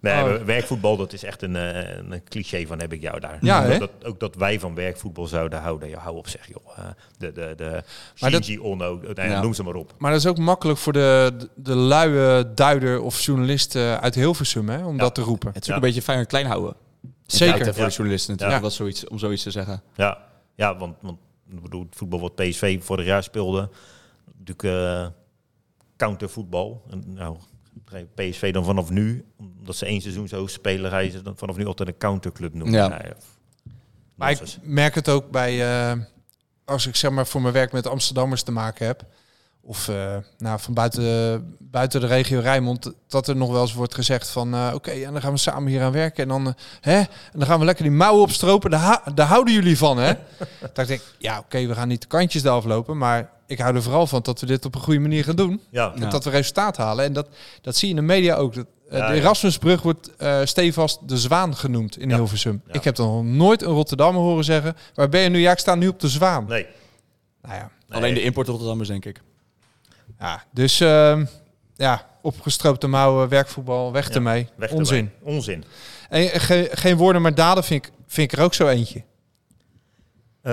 Nee,
Oh.
maar werkvoetbal, dat is echt een, eh, een cliché van heb ik jou daar.
Ja,
ook,
hè?
dat, ook dat wij van werkvoetbal zouden houden. Ja, hou op zeg, joh. Eh, De, de, de
Maar dat-
Shinji Ono, nee,
Ja.
noem ze maar op.
Maar dat is ook makkelijk voor de, de luie duider of journalist eh, uit Hilversum hè, om dat te roepen.
Het is
Ja.
ook een beetje fijn en klein houden. In
Zeker.
feite Voor
Ja.
de journalisten natuurlijk,
Ja.
om dat zoiets, om zoiets te zeggen.
Ja, ja want, want ik bedoel, het voetbal wat PSV vorig jaar speelde, natuurlijk eh, countervoetbal. En, nou, PSV dan vanaf nu, omdat ze één seizoen zo spelen, ga je ze dan vanaf nu altijd een counterclub noemen.
Ja.
Nou
Maar ik
nonsens.
merk het ook bij, eh, als ik zeg maar voor mijn werk met Amsterdammers te maken heb, of eh, nou, van buiten, buiten de regio Rijnmond, dat er nog wel eens wordt gezegd van eh, oké, en dan gaan we samen hier aan werken en dan, eh, hè, en dan gaan we lekker die mouwen opstropen, daar, ha- daar houden jullie van hè. dat ik denk, ja oké, we gaan niet de kantjes eraf lopen, maar ik hou er vooral van dat we dit op een goede manier gaan doen.
ja,
Ja.
Dat we resultaat halen. En dat, dat zie je in de media ook. Dat, eh,
Ja,
de
ja.
Erasmusbrug wordt eh, stevast de Zwaan genoemd in Hilversum.
Ja.
Ik heb dan nog nooit een Rotterdammer horen zeggen... waar ben je nu? Ja, ik sta nu op de Zwaan.
nee.
Nou ja,
Nee.
Alleen de import Rotterdammers, denk ik.
ja. dus ehm, ja, opgestroopte mouwen, werkvoetbal, weg
Ja,
ermee.
weg erbij.
Onzin.
Onzin.
En, eh, ge- geen woorden, maar daden vind ik, vind ik er ook zo eentje.
Eh,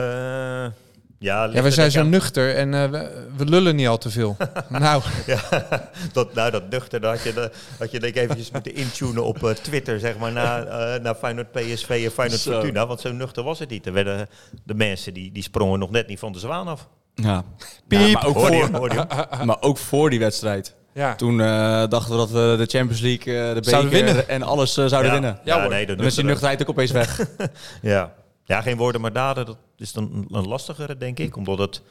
ja,
Ja,
ligt
we
er
zijn zo
denk ik
nuchter en eh, we, we lullen niet al te veel. nou,
aan- dat, nou, dat nuchter, dat had je, de- had je denk ik eventjes moeten intunen op eh, Twitter, zeg maar, na, eh na Feyenoord PSV en Feyenoord
Zo.
Fortuna. Want zo nuchter was het niet. Er werden de mensen, die, die sprongen nog net niet van de zwaan af.
Ja.
Piep.
Ja, maar, ook
Hoorde je,
voor,
hem, hoorde je hem?
maar ook voor die wedstrijd.
ja.
Toen eh, dachten we dat we de Champions League, eh, de
Zouden
beker
winnen.
en alles eh, zouden
Ja.
winnen.
Ja, hoor. nee, dat
Dan is
nuchter-
die nuchterheid ook opeens weg.
Ja. ja, geen woorden maar daden, dat is dan een- een lastigere, denk ik. Omdat het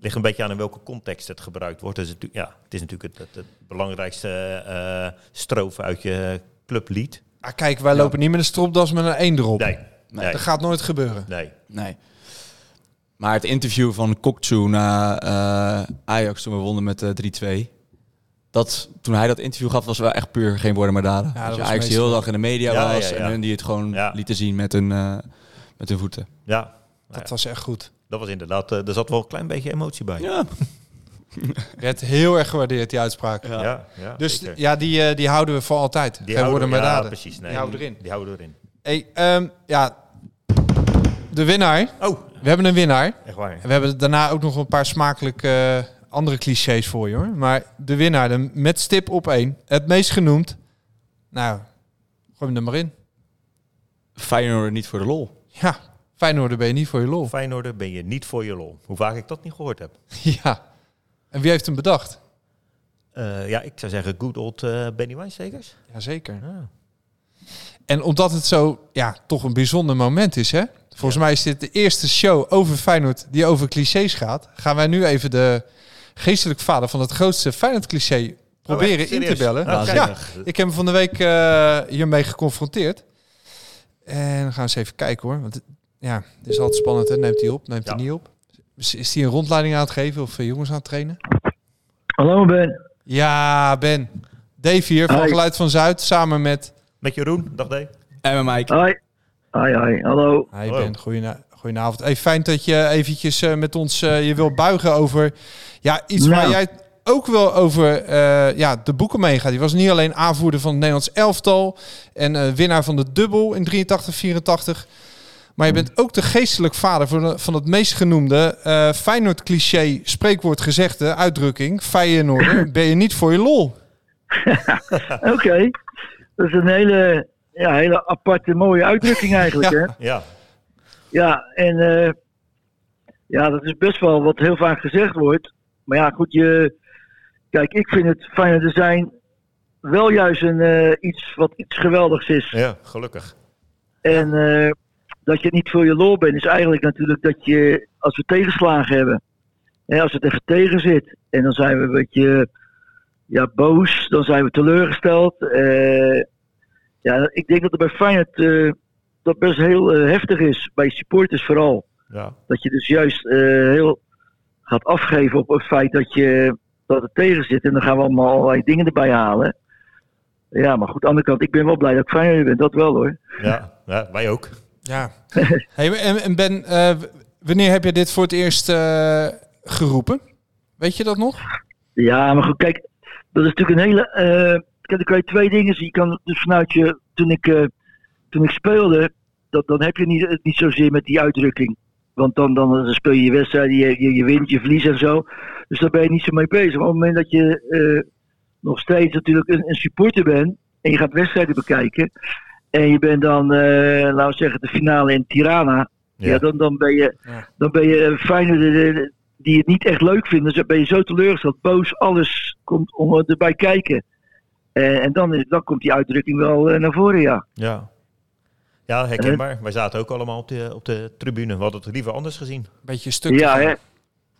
ligt een beetje aan in welke context het gebruikt wordt. Dus het, ja, het is natuurlijk het, het, het belangrijkste eh strofe uit je clublied.
Ah, kijk, wij lopen niet met een stropdas met een eendrop.
Nee, nee,
Dat gaat nooit gebeuren.
nee.
Nee. Maar het interview van Kokchu na eh, Ajax toen we wonnen met eh 3-2. Dat, toen hij dat interview gaf, was wel echt puur geen woorden maar daden.
dat
Ja,
was
Ajax die
meestal.
heel dag in de media
Ja,
was
ja, ja.
en hun die het gewoon
Ja.
lieten zien met hun, eh, met hun voeten.
Ja,
Dat was echt goed.
dat was inderdaad, eh, er zat wel een klein beetje emotie bij.
Ja,
Werd heel erg gewaardeerd, die uitspraak.
ja, ja,
Dus
zeker.
ja, die, eh, die houden we voor altijd.
die
Geen woorden
houden,
maar
ja,
daden.
precies. Nee,
Die houden erin.
Die houden erin.
Hey, ehm, ja, de winnaar.
Oh,
We hebben een winnaar.
echt waar.
En we hebben daarna ook nog een paar smakelijke eh, andere clichés voor je hoor. Maar de winnaar, de met stip op één, het meest genoemd. Nou, gooi hem er maar in.
Feyenoord niet voor de lol.
Ja, Feyenoord ben je niet voor je lol.
Feyenoorder ben je niet voor je lol. Hoe vaak ik dat niet gehoord heb.
Ja. En wie heeft hem bedacht?
Eh, Eh, ja, ik zou zeggen good old eh, Benny Wijnstekers.
Jazeker.
Ja.
En omdat het zo, ja, toch een bijzonder moment is, hè? Volgens mij is dit de eerste show over Feyenoord die over clichés gaat. Gaan wij nu even de geestelijk vader van het grootste Feyenoord-cliché proberen in te
Oh, serieus?
bellen.
Oh,
ja,
waanzinnig.
ik heb hem van de week eh, hiermee geconfronteerd. En we gaan eens even kijken hoor. Want het- ja, het is altijd spannend. Hè? Neemt hij op, neemt hij
Ja.
niet op? Is- Is hij een rondleiding aan het geven of eh, jongens aan het trainen?
Hallo Ben.
Ja, Ben. Dave hier van
Hi.
Geluid van Zuid samen met...
Met Jeroen, dag D.
En met Mike.
Hoi. Hoi, hoi. Hallo.
Hi
Hallo.
Ben, goedena- goedenavond. Hey, fijn dat je eventjes eh, met ons eh, je wil buigen over ja, iets waar
Nou.
jij ook wel over eh, ja, de boeken meegaat. Je was niet alleen aanvoerder van het Nederlands elftal en eh, winnaar van de dubbel in 83-84. Maar je bent ook de geestelijk vader van, de- van het meest genoemde eh Feyenoord-cliché, spreekwoord, gezegde, uitdrukking. Feyenoord, ben je niet voor je lol.
Oké. Dat is een hele, ja, hele aparte, mooie uitdrukking eigenlijk,
Ja.
hè?
Ja,
Ja, en eh, ja, dat is best wel wat heel vaak gezegd wordt. Maar ja, goed, je, kijk, ik vind het fijner te zijn wel juist een, eh, iets wat iets geweldigs is.
ja gelukkig.
En eh, dat je het niet voor je lol bent, is eigenlijk natuurlijk dat je, als we tegenslagen hebben, hè, als het even tegen zit, en dan zijn we een beetje ja, boos, dan zijn we teleurgesteld. eh. ja, ik denk dat het bij Feyenoord eh, dat best heel eh, heftig is, bij supporters vooral.
Ja,
Dat je dus juist eh, heel gaat afgeven op het feit dat, je, dat het tegen zit. En dan gaan we allemaal allerlei dingen erbij halen. Ja, maar goed, aan de andere kant, ik ben wel blij dat ik Feyenoord ben, dat wel hoor.
ja, ja wij ook.
Ja. Hey, en, en Ben, eh, w- wanneer heb je dit voor het eerst eh, geroepen? Weet je dat nog?
Ja, maar goed, kijk, dat is natuurlijk een hele. eh kijk, dan kan je twee dingen zien. Je kan dus vanuit je. Toen ik, eh, toen ik speelde, dat, dan heb je niet, het niet zozeer met die uitdrukking. Want dan, dan, dan speel je je wedstrijd, je, je, je wint, je verliest en zo. Dus daar ben je niet zo mee bezig. Maar op het moment dat je eh, nog steeds natuurlijk een, een supporter bent. en je gaat wedstrijden bekijken. en je bent dan, eh, laten we zeggen, de finale in Tirana. Ja,
Ja.
dan, dan ben je,
Ja.
dan ben je eh, een fijne die het niet echt leuk vinden. Dus dan ben je zo teleurgesteld, boos, alles komt om erbij kijken. Eh, en dan, is, dan komt die uitdrukking wel eh, naar voren, ja.
Ja. Ja, herkenbaar. Wij zaten ook allemaal op de, op de tribune. We hadden het liever anders gezien.
Beetje stuk.
Ja, hè?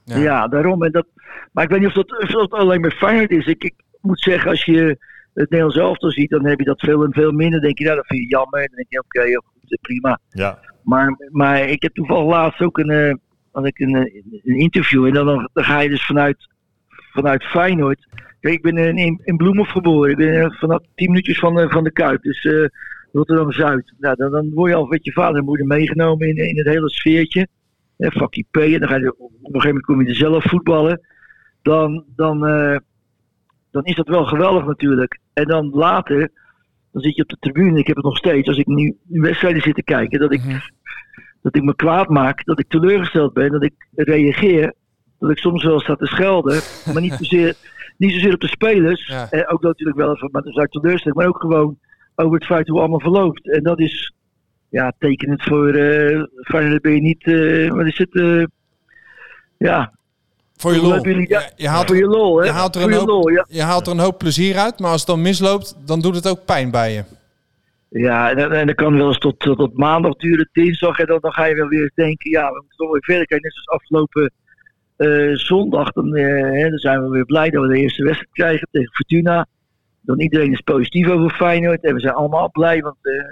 Ja.
Ja. daarom. En dat, maar ik weet niet of dat, of dat alleen maar Feyenoord is. Ik, ik moet zeggen, als je het Nederlands elftal ziet, dan heb je dat veel en veel minder. Dan denk je, nou, dat vind je jammer. En dan denk je, oké, heel goed, eh, prima.
Ja,
Maar, maar ik heb toevallig laatst ook een, eh, had ik een, eh, een interview. En dan, dan ga je dus vanuit, vanuit Feyenoord. Kijk, ik ben eh, in, in, in Bloemhof geboren. Ik ben eh, vanaf tien minuutjes van, eh, van de Kuip. Dus eh, Rotterdam-Zuid. Nou, dan, dan word je al met je vader en moeder meegenomen in, in het hele sfeertje. Eh, Fakkie P. En dan ga je, op een gegeven moment kom je er zelf voetballen. Dan, dan, eh, dan is dat wel geweldig natuurlijk. En dan later... Dan zit je op de tribune. Ik heb het nog steeds. Als ik nu wedstrijden zit te kijken. Dat ik dat ik me kwaad maak, dat ik teleurgesteld ben, dat ik reageer, dat ik soms wel sta te schelden, maar niet zozeer, niet zozeer op de spelers,
Ja.
eh, ook natuurlijk wel even, maar dan zou ik teleurstelling, maar ook gewoon over het feit hoe het allemaal verloopt. En dat is ja, tekenend voor eh Feyenoord ben je niet, eh, wat is het, eh, ja,
Voor je
Hoe
lol.
hebben jullie- ja,
Je, je haalt,
voor je lol, hè?
je haalt er
voor
een
je
hoop-
lol, ja.
je haalt er een hoop plezier uit, maar als het dan misloopt, dan doet het ook pijn bij je.
Ja, en, en dat kan wel eens tot, tot, tot maandag duren, dinsdag. En dan, dan ga je wel weer denken, ja, we moeten toch weer verder kijken. Net zoals afgelopen eh, zondag, dan, eh, hè, dan zijn we weer blij dat we de eerste wedstrijd krijgen tegen Fortuna. Dan iedereen is positief over Feyenoord. En we zijn allemaal blij, want eh,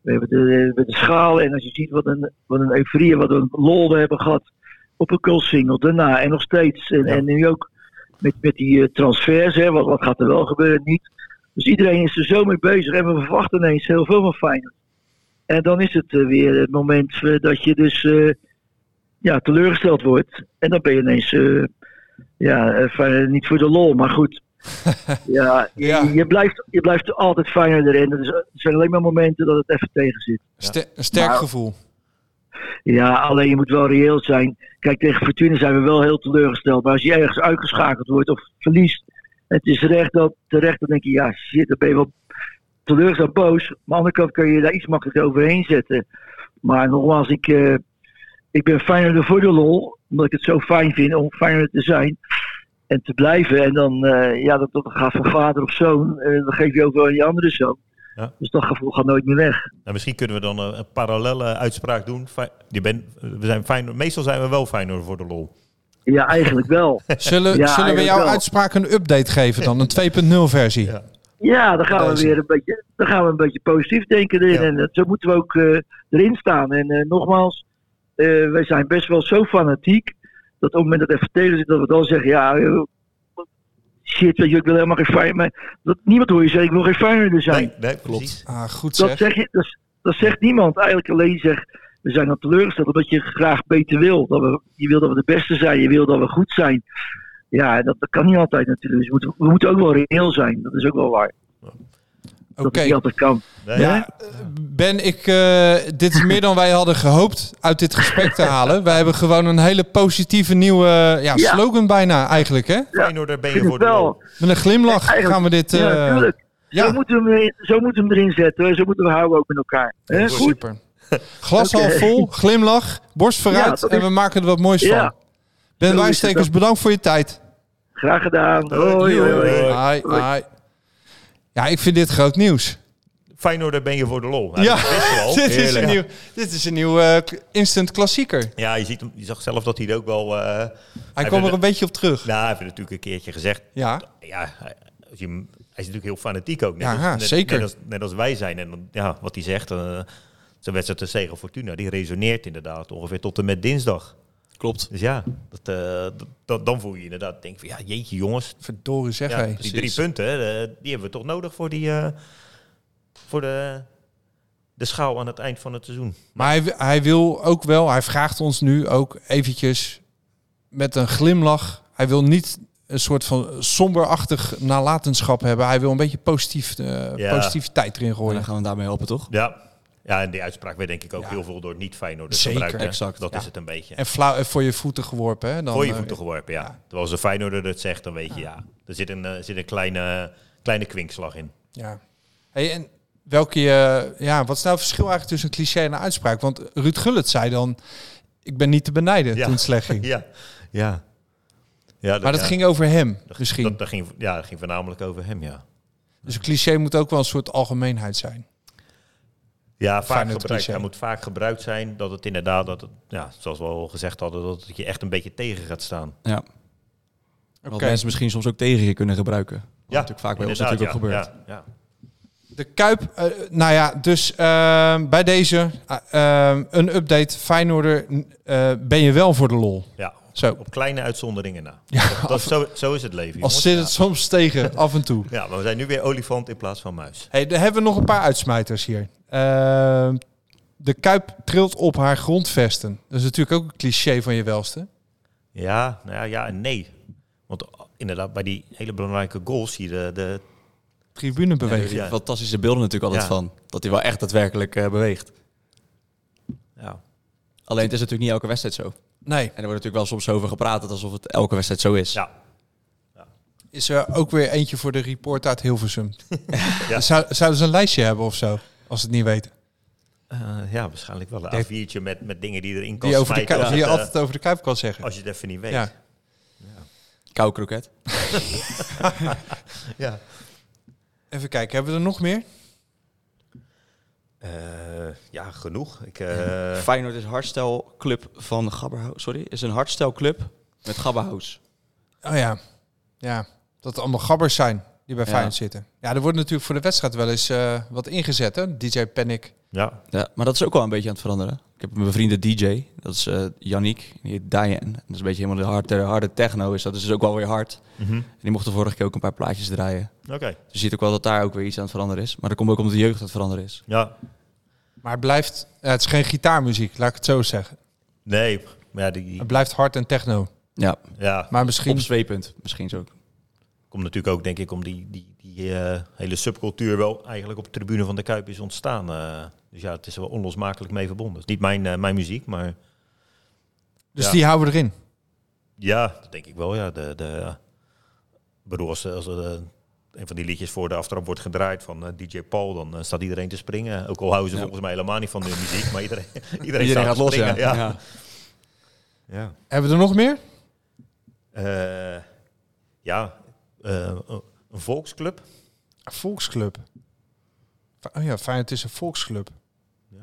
we hebben de, we hebben de schaal. En als je ziet wat een, wat een euforie en wat een lol we hebben gehad op een kultsingel. Daarna en nog steeds. En, en nu ook met, met die eh, transfers, hè, wat, wat gaat er wel gebeuren, niet. Dus iedereen is er zo mee bezig en we verwachten ineens heel veel van Feyenoord. En dan is het eh, weer het moment eh, dat je dus eh, ja, teleurgesteld wordt. En dan ben je ineens eh, ja, eh, Feyenoord niet voor de lol, maar goed. ja, je,
Ja.
Je, blijft, je blijft altijd Feyenoord erin. Er is- er zijn alleen maar momenten dat het even tegen zit.
Ster- een sterk
Maar-
gevoel.
Ja, alleen je moet wel reëel zijn. Kijk, tegen Fortuna zijn we wel heel teleurgesteld. Maar als je ergens uitgeschakeld wordt of verliest, het is recht dat, terecht, dan denk je, ja shit, dan ben je wel teleurgesteld boos. Maar aan de andere kant kun je daar iets makkelijker overheen zetten. Maar nogmaals, ik, eh ik ben Feyenoord voor de lol, omdat ik het zo fijn vind om Feyenoord te zijn. en te blijven. En dan, eh, ja, dat, dat gaat van vader op zoon. En dan geef je over aan je andere zoon.
Ja.
Dus dat gevoel gaat nooit meer weg.
Nou, misschien kunnen we dan een, een parallelle uitspraak doen. Fey- Je bent, we zijn Feyenoord- meestal zijn we wel Feyenoord voor de lol.
Ja, eigenlijk wel.
Zullen,
Ja,
zullen we jouw
wel.
uitspraak een update geven dan? Een 2.0 versie?
Ja.
Ja, dan gaan we
Deze.
weer een beetje, dan gaan we een beetje positief denken
Ja.
erin. En eh, zo moeten we ook eh, erin staan. En eh, nogmaals, eh, wij zijn best wel zo fanatiek. Dat op het moment dat even tegen zit, dat we dan zeggen: ja, eh, shit, weet je, ik wil helemaal geen Feyenoord. Maar dat, niemand hoor je zeggen: ik wil geen Feyenoorder zijn.
Nee, nee, klopt.
Ah, goed
dat,
zeg.
zeg je, dat, dat zegt niemand. Eigenlijk alleen zegt: we zijn dan teleurgesteld omdat je graag beter wil. Dat we, je wil dat we de beste zijn, je wil dat we goed zijn. Ja, dat, dat kan niet altijd natuurlijk. Dus we, moeten, we moeten ook wel reëel zijn. Dat is ook wel waar.
Oké.
Dat het niet altijd kan.
Nee,
Ja, eh, Ben, ik, eh, dit is meer dan wij hadden gehoopt uit dit gesprek te halen. Wij hebben gewoon een hele positieve nieuwe ja,
Ja.
slogan bijna eigenlijk, hè?
Feyenoord, daar ben je
vind
voor
het
de
wel.
lol.
Met een glimlach
Eigenlijk-
gaan we dit... eh,
ja, natuurlijk.
ja.
Zo, moeten we hem, erin- zo moeten we hem erin zetten. Zo moeten we houden ook met elkaar. Hè? Goed?
Super. Glas
Oké.
half vol, glimlach, borst
Ja,
vooruit
dat
en
is-
we maken er wat moois
Ja.
van. Ben
het
Wijstekers,
ook.
bedankt voor je tijd.
Graag gedaan.
Hoi,
Hoi, hoi, hoi.
hoi.
Hai, hai. Ja, ik vind dit groot nieuws.
Feyenoord, daar ben je voor de lol. Nou,
Ja,
dat is best wel.
dit, is
Heerlijk.
een nieuw, dit is een nieuw eh, instant klassieker.
Ja, je, ziet hem, je zag zelf dat hij er ook wel... eh,
Hij
vindt
kwam er
het-
een beetje op terug.
Nou, hij heeft het natuurlijk een keertje gezegd.
Ja.
ja hij, als je hem- hij is natuurlijk heel fanatiek ook. Net
Ja,
als,
ja,
net,
zeker.
Net als, net als wij zijn. En dan, ja, wat hij zegt, eh zijn wedstrijd te tegen Fortuna, die resoneert inderdaad ongeveer tot en met dinsdag.
Klopt.
Dus ja, dat, eh, dat- dat, dan voel je inderdaad, denk van ja, jeetje jongens.
Verdorie zeg
Ja,
hé.
die drie punten, eh, die hebben we toch nodig voor, die, eh, voor de, de schaal aan het eind van het seizoen.
Maar hij, hij wil ook wel, hij vraagt ons nu ook eventjes met een glimlach. Hij wil niet een soort van somberachtig nalatenschap hebben. Hij wil een beetje positief, eh,
Ja.
positiviteit erin
En
gooien.
dan gaan we daarmee helpen, toch?
Ja. Ja, en die uitspraak werd denk ik ook heel veel door niet Feyenoorders
Zeker,
gebruikt. hè.
exact,
Dat
ja.
is het een beetje.
En flauw eh, voor je voeten geworpen. Hè? Dan,
voor je
eh,
voeten geworpen, ja. Terwijl als een Feyenoorder dat zegt, dan weet je, ja. Er zit een, eh, zit een kleine, kleine kwinkslag in.
Ja. Hey, en welke, eh, ja, wat is nou het verschil eigenlijk tussen een cliché en een uitspraak? Want Ruud Gullit zei dan, ik ben niet te benijden
Ja.
toen het slecht ging.
Ja, ja. ja
Maar dat
ja.
ging over hem misschien.
Dat, dat ging, ja, dat ging voornamelijk over hem, ja.
Dus een cliché moet ook wel een soort algemeenheid zijn.
Ja, vaak
Feyenoord
gebruikt,
cliché.
hij moet vaak gebruikt zijn dat het inderdaad, dat het, ja, zoals we al gezegd hadden, dat het je echt een beetje tegen gaat staan.
Ja. Wat
Oké.
mensen misschien soms ook tegen je kunnen gebruiken. Wat
Ja,
natuurlijk vaak bij ons
inderdaad,
natuurlijk ook
ja,
gebeurt.
Ja, ja.
De Kuip, eh, nou ja, dus eh, bij deze eh, eh, een update. Feyenoorder, eh, ben je wel voor de lol?
Ja,
Zo,
op kleine uitzonderingen na.
Ja,
dat, dat- zo, zo is het leven,
als
jongens.
zit het soms tegen, af en toe.
Ja, maar we zijn nu weer olifant in plaats van muis.
Hey, dan hebben we nog een paar uitsmijters hier. Ehm, de Kuip trilt op haar grondvesten. Dat is natuurlijk ook een cliché van je welste.
Ja, nou ja, ja en nee. Want inderdaad, bij die hele belangrijke goals zie je de, de
Tribunebeweging.
Ja.
Ja.
Fantastische beelden natuurlijk altijd
Ja.
van. Dat hij wel echt daadwerkelijk eh, beweegt.
ja,
Alleen het is natuurlijk niet elke wedstrijd zo. En
Nee,
er wordt natuurlijk wel soms over gepraat dat alsof het elke wedstrijd zo is.
ja,
is er ook weer eentje voor de reporter uit Hilversum. Zou, zouden ze een lijstje hebben of zo? Als ze het niet weten.
eh, ja, waarschijnlijk wel. Een A4'tje met, met dingen die erin kan
Die, over de
smijten
kuip,
Oh. als
die je
het, eh,
altijd over de Kuip kan zeggen.
Als je het even niet weet.
Ja.
Ja.
Kou kroket.
Even kijken, hebben we er nog meer?
ja, genoeg. Ik, eh,
Feyenoord is hardstelclub van Gabberhaus. Sorry, is een hardstelclub met Gabberhaus.
Oh ja. Ja, dat het allemaal gabbers zijn die bij
Ja.
Feyenoord zitten. Ja, er wordt natuurlijk voor de wedstrijd wel eens eh, wat ingezet, hè? DJ Panic.
ja,
Ja, maar dat is ook wel een beetje aan het veranderen. Ik heb mijn vrienden DJ, dat is eh Yannick, die heet Diane. Dat is een beetje helemaal de harde, harde techno, is dat dus ook wel weer hard. En die mochten vorige keer ook een paar plaatjes draaien.
oké.
Dus je ziet ook wel dat daar ook weer iets aan het veranderen is. Maar dat komt ook omdat de jeugd aan het veranderen is.
Ja,
Maar het blijft, ja, het is geen gitaarmuziek, laat ik het zo zeggen.
nee. Maar ja, die,
Het blijft hard en techno.
Ja,
ja,
Maar misschien,
opzwepend misschien zo. ook.
komt natuurlijk ook, denk ik, om die, die, die eh, hele subcultuur wel eigenlijk op de tribune van de Kuip is ontstaan. eh. dus ja, het is er wel onlosmakelijk mee verbonden. Het is niet mijn, eh, mijn muziek, maar
dus
ja.
die houden we erin.
Ja, dat denk ik wel. Ja, de, de, ik bedoel, als, als er eh, een van die liedjes voor de aftrap wordt gedraaid van eh, DJ Paul, dan eh, staat iedereen te springen. Ook al houden ze volgens mij helemaal niet van de muziek, maar iedereen, iedereen, staat
Iedereen
te
gaat los, ja.
springen. Ja.
Ja.
Ja.
Hebben we er nog meer?
Eh, Ja, eh, een volksclub.
Volksclub. Oh ja, Feyenoord is een volksclub. Ja.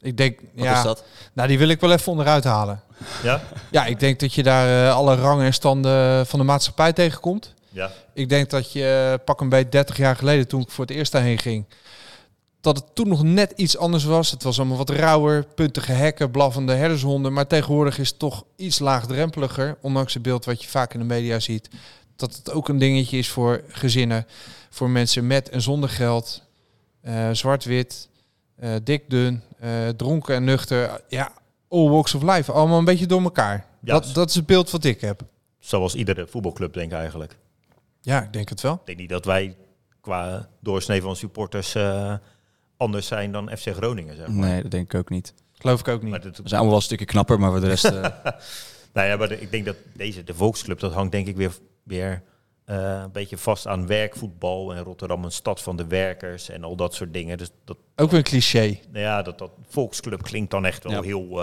Ik denk,
Wat
ja,
is dat?
nou die wil ik wel even onderuit halen.
Ja?
Ja, ik denk dat je daar eh, alle rangen en standen van de maatschappij tegenkomt.
Ja.
Ik denk dat je eh, pak een beetje 30 jaar geleden, toen ik voor het eerst daarheen ging, dat het toen nog net iets anders was. Het was allemaal wat rauwer, puntige hekken, blaffende herdershonden. Maar tegenwoordig is het toch iets laagdrempeliger, ondanks het beeld wat je vaak in de media ziet. Dat het ook een dingetje is voor gezinnen, voor mensen met en zonder geld, eh, zwart-wit, eh, dik-dun, eh, dronken en nuchter. Ja, all walks of life, allemaal een beetje door elkaar.
Ja, dus-
dat, dat is het beeld wat ik heb.
Zoals iedere voetbalclub, denk ik eigenlijk. Ik
Ja, ik denk het wel.
denk niet dat wij qua doorsnee van supporters eh, anders zijn dan FC Groningen. Zeg. maar.
Nee, dat denk ik ook niet.
Geloof ik ook niet.
Maar dat,
We zijn allemaal wel een stukje knapper, maar voor de rest... eh,
nou ja, maar de- ik denk dat deze, de Volksclub, dat hangt denk ik weer, weer eh, een beetje vast aan werkvoetbal. En Rotterdam een stad van de werkers en al dat soort dingen. Dus dat,
Ook weer een cliché.
nou ja, dat, dat Volksclub klinkt dan echt wel
Ja.
heel... eh,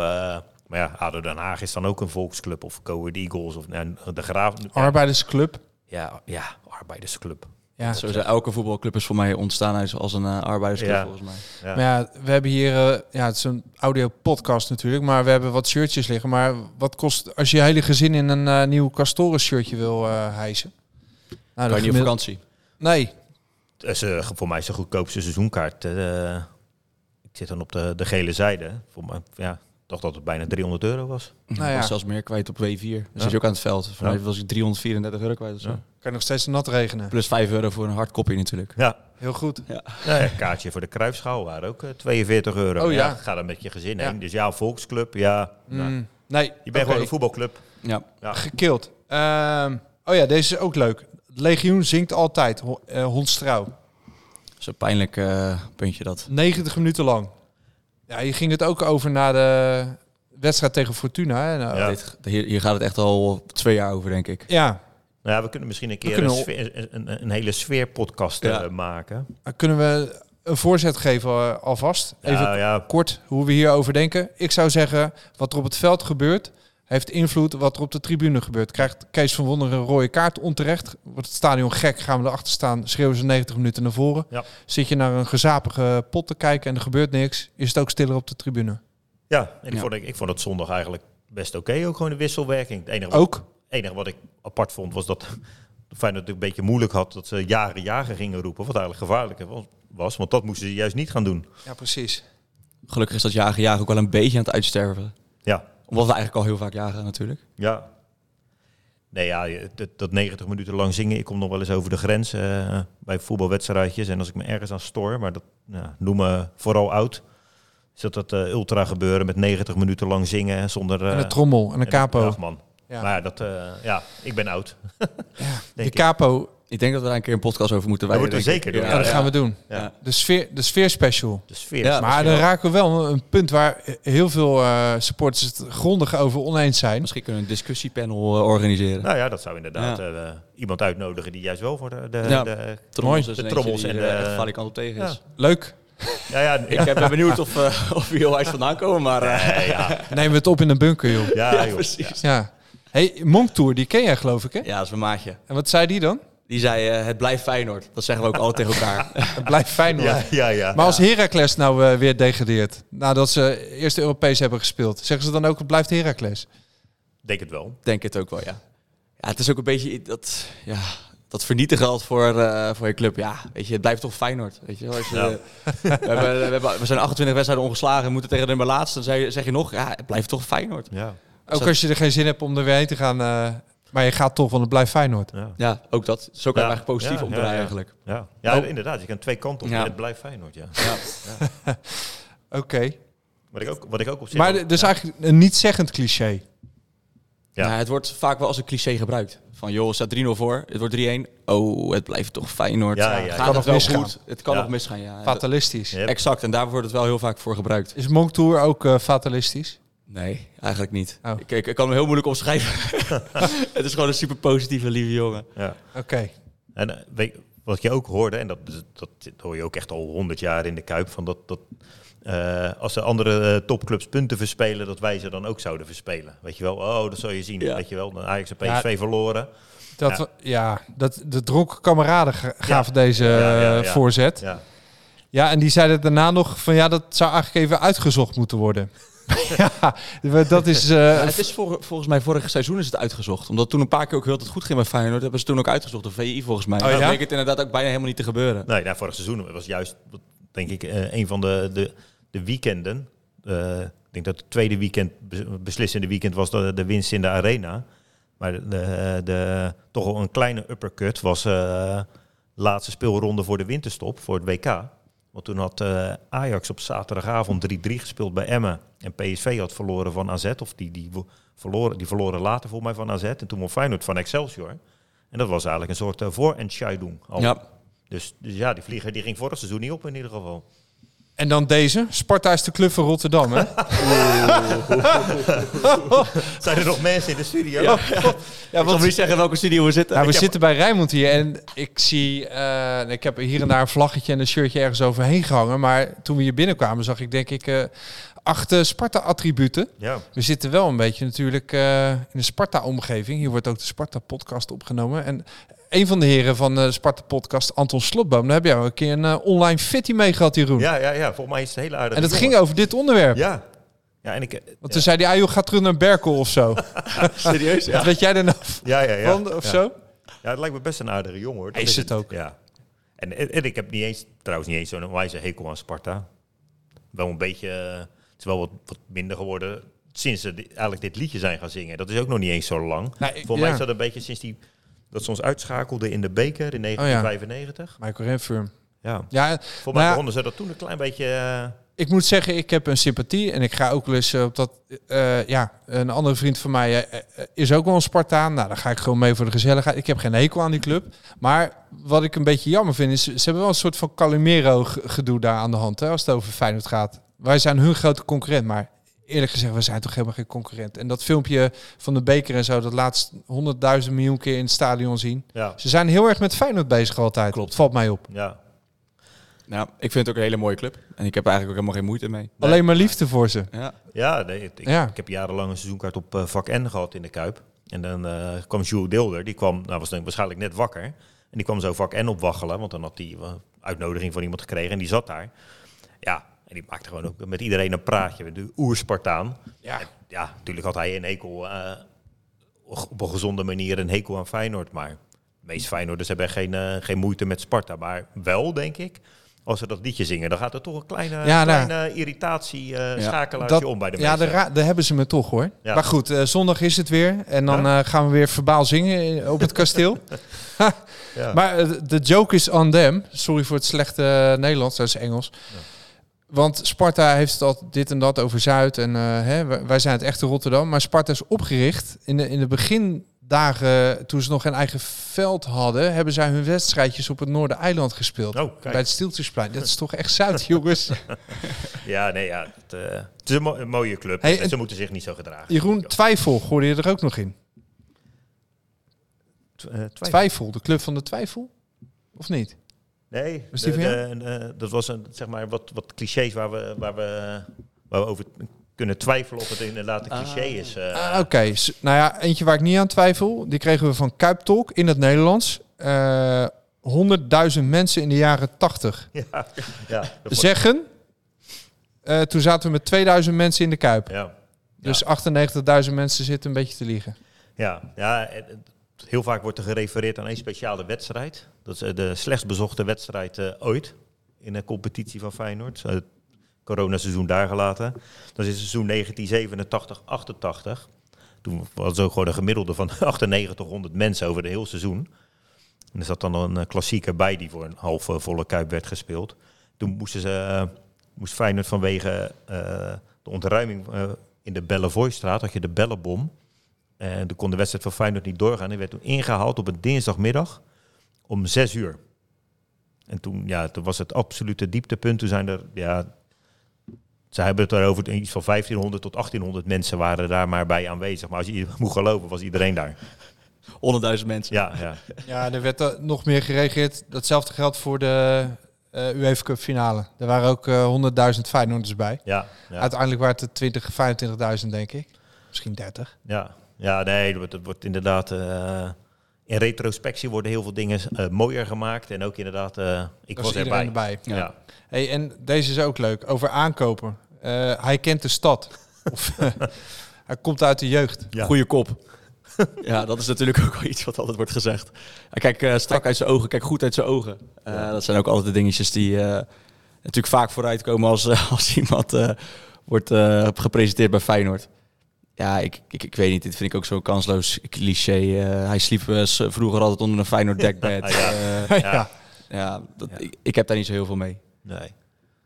maar ja, ADO Den Haag is dan ook een Volksclub. Of Coed Eagles of nou, de Graaf.
Arbeidersclub.
Ja, ja, arbeidersclub.
Ja.
Zo zijn elke voetbalclub is voor mij ontstaan uit- als een eh, arbeidersclub
Ja.
volgens mij.
Ja.
Maar ja, we hebben hier, eh, ja, het is een audio podcast natuurlijk, maar we hebben wat shirtjes liggen. Maar wat kost als je je hele gezin in een eh, nieuw Castoren shirtje wil eh hijsen? Nou,
Kan
dat
je niet op vakantie?
Nee,
Het is, eh, voor mij is de goedkoopste seizoenkaart. eh, ik zit dan op de, de gele zijde. Voor mij, ja, ik dacht dat het bijna 300 euro was.
nou
Ik
ja,
was
kan
zelfs meer kwijt op W4. Dan zit je ook aan het veld. Voor
Ja.
mij was ik 334 euro kwijt of zo.
je nog steeds nat regenen.
Plus 5 euro voor een hard kopje natuurlijk.
Ja,
Heel goed.
nou ja, kaartje voor de Kruifschaal waren ook eh, 42 euro.
Oh, ja.
Ga dan met je gezin
Ja.
heen. Dus ja, volksclub, ja. nou,
Mm, nee,
je bent gewoon een voetbalclub.
Ja.
gekild. Ehm, oh ja, deze is ook leuk. Legioen zingt altijd, ho eh, hondstrouw.
Zo'n pijnlijk eh, puntje dat.
90 minuten lang. Ja, je ging het ook over na de wedstrijd tegen Fortuna. Hè? Nou,
Ja.
Dit, hier, hier gaat het echt al twee jaar over, denk ik.
ja,
Nou ja, we kunnen misschien een keer
kunnen
een,
al-
sfeer- een, een hele sfeerpodcast eh,
Ja.
maken.
Dan Nou, kunnen we een voorzet geven eh, alvast. Even
Ja, ja,
kort hoe we hierover denken. Ik zou zeggen, wat er op het veld gebeurt, heeft invloed wat er op de tribune gebeurt. Krijgt Kees van Wonderen een rode kaart onterecht, wordt het stadion gek, gaan we erachter staan, schreeuwen ze 90 minuten naar voren.
Ja.
Zit je naar een gezapige pot te kijken en er gebeurt niks, is het ook stiller op de tribune.
ja. En ik,
Ja.
Vond, ik, ik vond het zondag eigenlijk best oké. Ook gewoon de wisselwerking. Het enige wat
Ook?
enige wat ik apart vond was dat Feyenoord het een beetje moeilijk had dat ze jaren jagen gingen roepen. Wat eigenlijk gevaarlijker was- was, want dat moesten ze juist niet gaan doen.
Ja, precies.
Gelukkig is dat jagen jagen ook wel een beetje aan het uitsterven.
Ja,
Omdat we eigenlijk al heel vaak jagen natuurlijk.
ja. Nee, ja, je- dat, dat 90 minuten lang zingen. Ik kom nog wel eens over de grens eh, bij voetbalwedstrijdjes. En als ik me ergens aan stoor, maar dat ja, noem me vooral oud. Is dat dat eh, ultra gebeuren met 90 minuten lang zingen zonder... eh,
En een trommel en een
en een-
capo.
Ach, man.
Ja.
Maar ja, dat, eh, ja, ik ben oud.
De
ik.
capo,
Ik denk dat we daar een keer een podcast over moeten
Dat
wijden.
moeten we
denk
zeker
ik.
doen,
ja, dat
ja.
gaan we doen.
Ja.
De, sfeer, de sfeerspecial.
De sfeer.
Ja,
is
Maar dan
misschien
raken we wel een punt waar heel veel eh, supporters het grondig over oneens zijn.
Misschien kunnen we een discussiepanel eh, organiseren.
Nou ja, dat zou inderdaad eh, iemand uitnodigen die juist wel voor de, de,
Ja.
Nou, de-
Trommels
mooi.
is een
De trommels
eentje die
en
er
de-
echt valikant op tegen is.
Leuk.
ja, ja, ja,
Ik eh, ben benieuwd of, eh, of we heel uit vandaan komen, maar... eh,
Nee, ja,
Nemen we het op in een bunker, joh.
ja,
ja,
joh.
precies.
Ja. Hey, Monk Tour, die ken jij geloof ik, hè?
Ja, dat is mijn maatje.
En wat zei die dan?
Die zei, eh, het blijft Feyenoord. Dat zeggen we ook altijd tegen elkaar.
Het blijft fijn hoor.
Ja, ja, ja.
Maar als Heracles nou eh, weer degradeert, nadat ze eerst de Europees hebben gespeeld, zeggen ze dan ook het blijft Heracles?
Denk het wel.
Denk het ook wel, ja. Ja, het is ook een beetje dat, ja, dat vernietigen altijd voor, eh, voor je club. Ja, weet je, het blijft toch Feyenoord. Weet je, wel. als je,
Ja.
we, hebben, we, hebben- we zijn 28 wedstrijden ongeslagen en moeten tegen de nummer laatste. Dan zeg je, zeg je nog, ja, het blijft toch Feyenoord.
Ja.
Ook
Zo-
als je er geen zin hebt om er weer heen te gaan, eh, maar je gaat toch, want het blijft Feyenoord.
Ja, ook dat. Zo kan je
Ja.
hem eigenlijk positief
Ja,
omdraaien
ja, ja.
eigenlijk.
Ja, ja
Oh.
inderdaad. Je kan twee kanten op.
Ja.
Het blijft Feyenoord, ja.
Oké.
Wat ik ook, wat ik ook op zich...
Maar dat is eigenlijk een niet-zeggend cliché.
Ja.
Maar Nou, het wordt vaak wel als een cliché gebruikt. Van joh, het staat 3-0 voor, het wordt 3-1. Oh, het blijft toch Feyenoord.
Ja, ja, ja.
Gaat
Kan
het
nog
wel
misgaan.
goed? Het kan
Ja.
nog misgaan, ja.
Fatalistisch.
Ja.
Exact, en daar wordt het wel heel vaak voor gebruikt.
Is Monk Tour ook eh, fatalistisch?
Nee, eigenlijk niet.
Oh.
Ik, ik, ik kan hem heel moeilijk omschrijven. het is gewoon een super positieve, lieve jongen.
ja.
Oké.
En eh, weet, wat je ook hoorde, en dat, dat hoor je ook echt al honderd jaar in de Kuip, van dat, dat eh, als de andere eh, topclubs punten verspelen, dat wij ze dan ook zouden verspelen. Weet je wel, oh, dat zal je zien.
Ja.
Weet je wel, dan Ajax en PSV
Ja.
verloren.
Dat, ja. dat, de dronken kameraden ga- gaven deze
Ja, ja, ja.
eh, voorzet. Ja.
Ja.
en die zeiden daarna nog van ja, dat zou eigenlijk even uitgezocht moeten worden. ja, we- dat is... eh,
Ja, het is vol- volgens mij vorig seizoen is het uitgezocht. Omdat toen een paar keer ook heel dat het goed ging bij Feyenoord, hebben ze toen ook uitgezocht. Of VI volgens mij.
Oh, ja?
Dan bleek het inderdaad ook bijna helemaal niet te gebeuren.
Nee, nou, vorig seizoen was juist, denk ik, eh, een van de, de, de weekenden. Eh, ik denk dat het tweede weekend, bes- beslissende weekend, was de, de winst in de arena. Maar de, de, de- toch wel een kleine uppercut was eh laatste speelronde voor de winterstop, voor het WK. Want toen had eh, Ajax op zaterdagavond 3-3 gespeeld bij Emmen. En PSV had verloren van AZ. Of die, die, wo- verloren, die verloren later volgens mij van AZ. En toen won Feyenoord van Excelsior. En dat was eigenlijk een soort eh, voor-entscheidung. al.
Ja.
Dus, dus ja, die vlieger die ging vorig seizoen niet op in ieder geval.
En dan deze. Sparta is de club van Rotterdam, hè?
Zijn er nog mensen in de studio?
ik zal niet zeggen in welke studio we zitten.
Nou, we
Ik heb-
zitten bij Rijnmond hier en ik zie... eh, ik heb hier en daar een vlaggetje en een shirtje ergens overheen gehangen. Maar toen we hier binnenkwamen zag ik denk ik eh, acht eh, Sparta-attributen.
Ja.
We zitten wel een beetje natuurlijk eh, in de Sparta-omgeving. Hier wordt ook de Sparta-podcast opgenomen. En een van de heren van de Sparta-podcast, Anton Slotboom... daar heb jij ook een keer een eh, online fitty mee gehad, Jeroen.
ja, ja, ja. Volgens mij is het een hele aardige
en dat
jongen.
ging over dit onderwerp.
Ja. Ja, en ik... eh,
Want toen zei hij, ah, joh, ga terug naar Berkel of zo.
Serieus? Ja.
Wat weet jij er nou
Ja, ja, ja.
van of
ja. Nou,
zo?
Ja, het lijkt me best een aardige jongen, hoor. Dat
Hij is het ook.
Ja. En, en, en ik heb niet eens, trouwens niet eens zo'n wijze hekel aan Sparta. Wel een beetje... eh, Het is wel wat, wat minder geworden sinds ze di- eigenlijk dit liedje zijn gaan zingen. Dat is ook nog niet eens zo lang.
Nou, ik-
Volgens mij
ja.
is dat een beetje sinds die... Dat ze ons uitschakelden in de beker
Oh,
in 1995.
Michael Renfurm.
ja.
Ja,
Volgens mij
nou ja,
begonnen ze dat toen een klein beetje... eh,
ik moet zeggen, ik heb een sympathie. En ik ga ook wel eens eh, op dat... eh, ja, een andere vriend van mij eh, eh, is ook wel een Spartaan. Nou, daar ga ik gewoon mee voor de gezelligheid. Ik heb geen hekel aan die club. Maar wat ik een beetje jammer vind, is... Ze hebben wel een soort van Calimero-gedoe daar aan de hand. Hè, als het over Feyenoord gaat. Wij zijn hun grote concurrent, maar... Eerlijk gezegd, we zijn toch helemaal geen concurrent. En dat filmpje van de beker en zo, dat laatst honderdduizend miljoen keer in het stadion zien.
ja.
Ze zijn heel erg met Feyenoord bezig altijd. Klopt. Valt mij op.
Ja,
Nou, ik vind het ook een hele mooie club. En ik heb eigenlijk ook helemaal geen moeite mee.
Alleen maar liefde voor ze.
Ja.
ja, nee, het- ik,
Ja.
ik heb jarenlang een seizoenkaart op eh, vak N gehad in de Kuip. En dan eh, kwam Jules Deelder, die kwam, nou was denk ik waarschijnlijk net wakker. En die kwam zo vak N opwaggelen, want dan had hij eh, uitnodiging van iemand gekregen en die zat daar. Ja, en die maakte gewoon ook met iedereen een praatje, met de oerspartaan.
Ja.
En ja, natuurlijk had hij een hekel, eh, op een gezonde manier een hekel aan Feyenoord. Maar de meeste Feyenoorders hebben geen, eh, geen moeite met Sparta. Maar wel, denk ik, als ze dat liedje zingen, dan gaat er toch een kleine,
Ja, nou.
kleine irritatie eh
Ja.
schakelaartje om bij de
ja,
meesten.
daar, ra- daar hebben ze me toch hoor.
Ja.
Maar goed, eh, zondag is het weer. En dan eh, gaan we weer verbaal zingen eh, op het kasteel. Ha,
Ja.
Maar eh, de joke is on them. Sorry voor het slechte eh, Nederlands, dat is Engels. Want Sparta heeft het al dit en dat over Zuid. En eh, hè, wij- wij zijn het echte Rotterdam. Maar Sparta is opgericht in de, in de begindagen, toen ze nog geen eigen veld hadden, hebben zij hun wedstrijdjes op het Noordereiland gespeeld.
Oh, kijk.
bij het Stieltjesplein. Dat is toch echt Zuid, jongens.
Ja, nee, ja. Het, eh, het is een, mo- een mooie club.
Hey,
en ze
het-
moeten zich niet zo gedragen.
Jeroen, twijfel hoorde je er ook nog in.
Tw- eh, twijfel.
Twijfel, de club van de twijfel? Of niet?
Nee,
Was die
de-
van
de- de- dat was een, zeg maar wat, wat clichés waar we, waar, we, waar we over kunnen twijfelen of het inderdaad een cliché is. eh.
Ah, Oké, S- nou ja, eentje waar ik niet aan twijfel. Die kregen we van Kuiptolk in het Nederlands. Eh 100.000 mensen in de jaren 80
ja, ja, dat wordt-
zeggen... eh, toen zaten we met 2000 mensen in de Kuip.
ja.
Dus 98.000 mensen zitten een beetje te liegen.
Ja, ja en- en heel vaak wordt er gerefereerd aan één speciale wedstrijd. Dat is eh, de slechts bezochte wedstrijd eh, ooit in de competitie van Feyenoord. Eh, Het coronaseizoen daar gelaten. Dat is het seizoen 1987-88. Toen was ook gewoon een gemiddelde van 9800 mensen over het hele seizoen. En er zat dan een eh, klassieker bij die voor een half eh, volle kuip werd gespeeld. Toen moesten ze, eh, moest Feyenoord vanwege eh, de ontruiming eh, in de Bellevoistraat, had je de Bellenbom. En toen kon de wedstrijd van Feyenoord niet doorgaan. Die werd toen ingehaald op een dinsdagmiddag om zes uur. En toen, ja, toen was het absolute dieptepunt. Toen zijn er, ja, ze hebben het erover, iets van 1500 tot 1800 mensen waren daar maar bij aanwezig. Maar als je moet geloven, was iedereen daar.
100.000 mensen.
Ja, ja.
Ja, er werd eh, nog meer gereageerd. Datzelfde geldt voor de eh UEFA Cup finale. Er waren ook eh 100.000 Feyenoorders bij.
ja, ja.
Uiteindelijk waren het er 20, 25.000 denk ik. Misschien 30.
Ja, ja nee, dat wordt, dat wordt inderdaad... eh, in retrospectie worden heel veel dingen eh, mooier gemaakt. En ook inderdaad, eh, ik
Was
was,
iedereen
erbij.
erbij.
Ja. Ja.
Hey, en deze is ook leuk. Over aankopen. Eh, hij kent de stad. of, eh, hij komt uit de jeugd.
Ja.
Goeie kop. ja, dat is natuurlijk ook wel iets wat altijd wordt gezegd. Hij Kijk eh, strak uit zijn ogen, kijk goed uit zijn ogen. Eh, Dat zijn ook altijd de dingetjes die eh, natuurlijk vaak vooruitkomen als, eh, als iemand eh, wordt eh, gepresenteerd bij Feyenoord. Ja, ik, ik, ik weet niet. Dit vind ik ook zo'n kansloos cliché. Eh, hij sliep eh, s- vroeger altijd onder een Feyenoord dekbed.
Ja.
Eh,
ja.
ja, dat, Ik, ik heb daar niet zo heel veel mee.
Nee. Ja,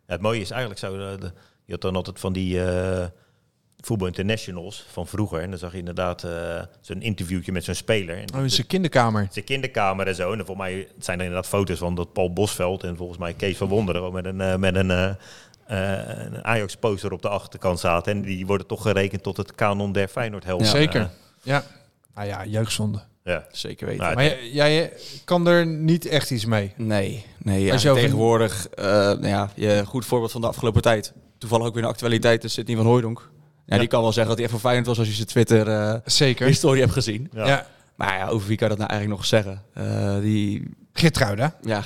het mooie is eigenlijk zo, eh, de- je had dan altijd van die eh voetbal internationals van vroeger. En dan zag je inderdaad eh, zo'n interviewtje met zo'n speler. En
Oh, in
dat-
zijn kinderkamer.
zijn kinderkamer en zo. En volgens mij zijn er inderdaad foto's van dat Paul Bosveld en volgens mij Kees van Wonderen ook met een, eh, met een, eh, eh, een Ajax-poster op de achterkant zaten. En die worden toch gerekend tot het kanon der Feyenoord-helden.
Zeker. ja. Nou ja, jeugdzonde.
ja.
Zeker weten.
Nou,
Maar jij, jij eh, kan er niet echt iets mee.
Nee, nee ja.
Als je over-
tegenwoordig, eh, nou ja, je goed voorbeeld van de afgelopen tijd. Toevallig ook weer in de actualiteit is Sidney van Hooijdonk. Ja, Die kan wel zeggen dat hij echt van Feyenoord was als je zijn Twitter-historie
Zeker.
hebt gezien.
Ja.
Ja.
Maar ja, over wie kan dat nou eigenlijk nog zeggen? Eh, die,
Geertruida.
ja,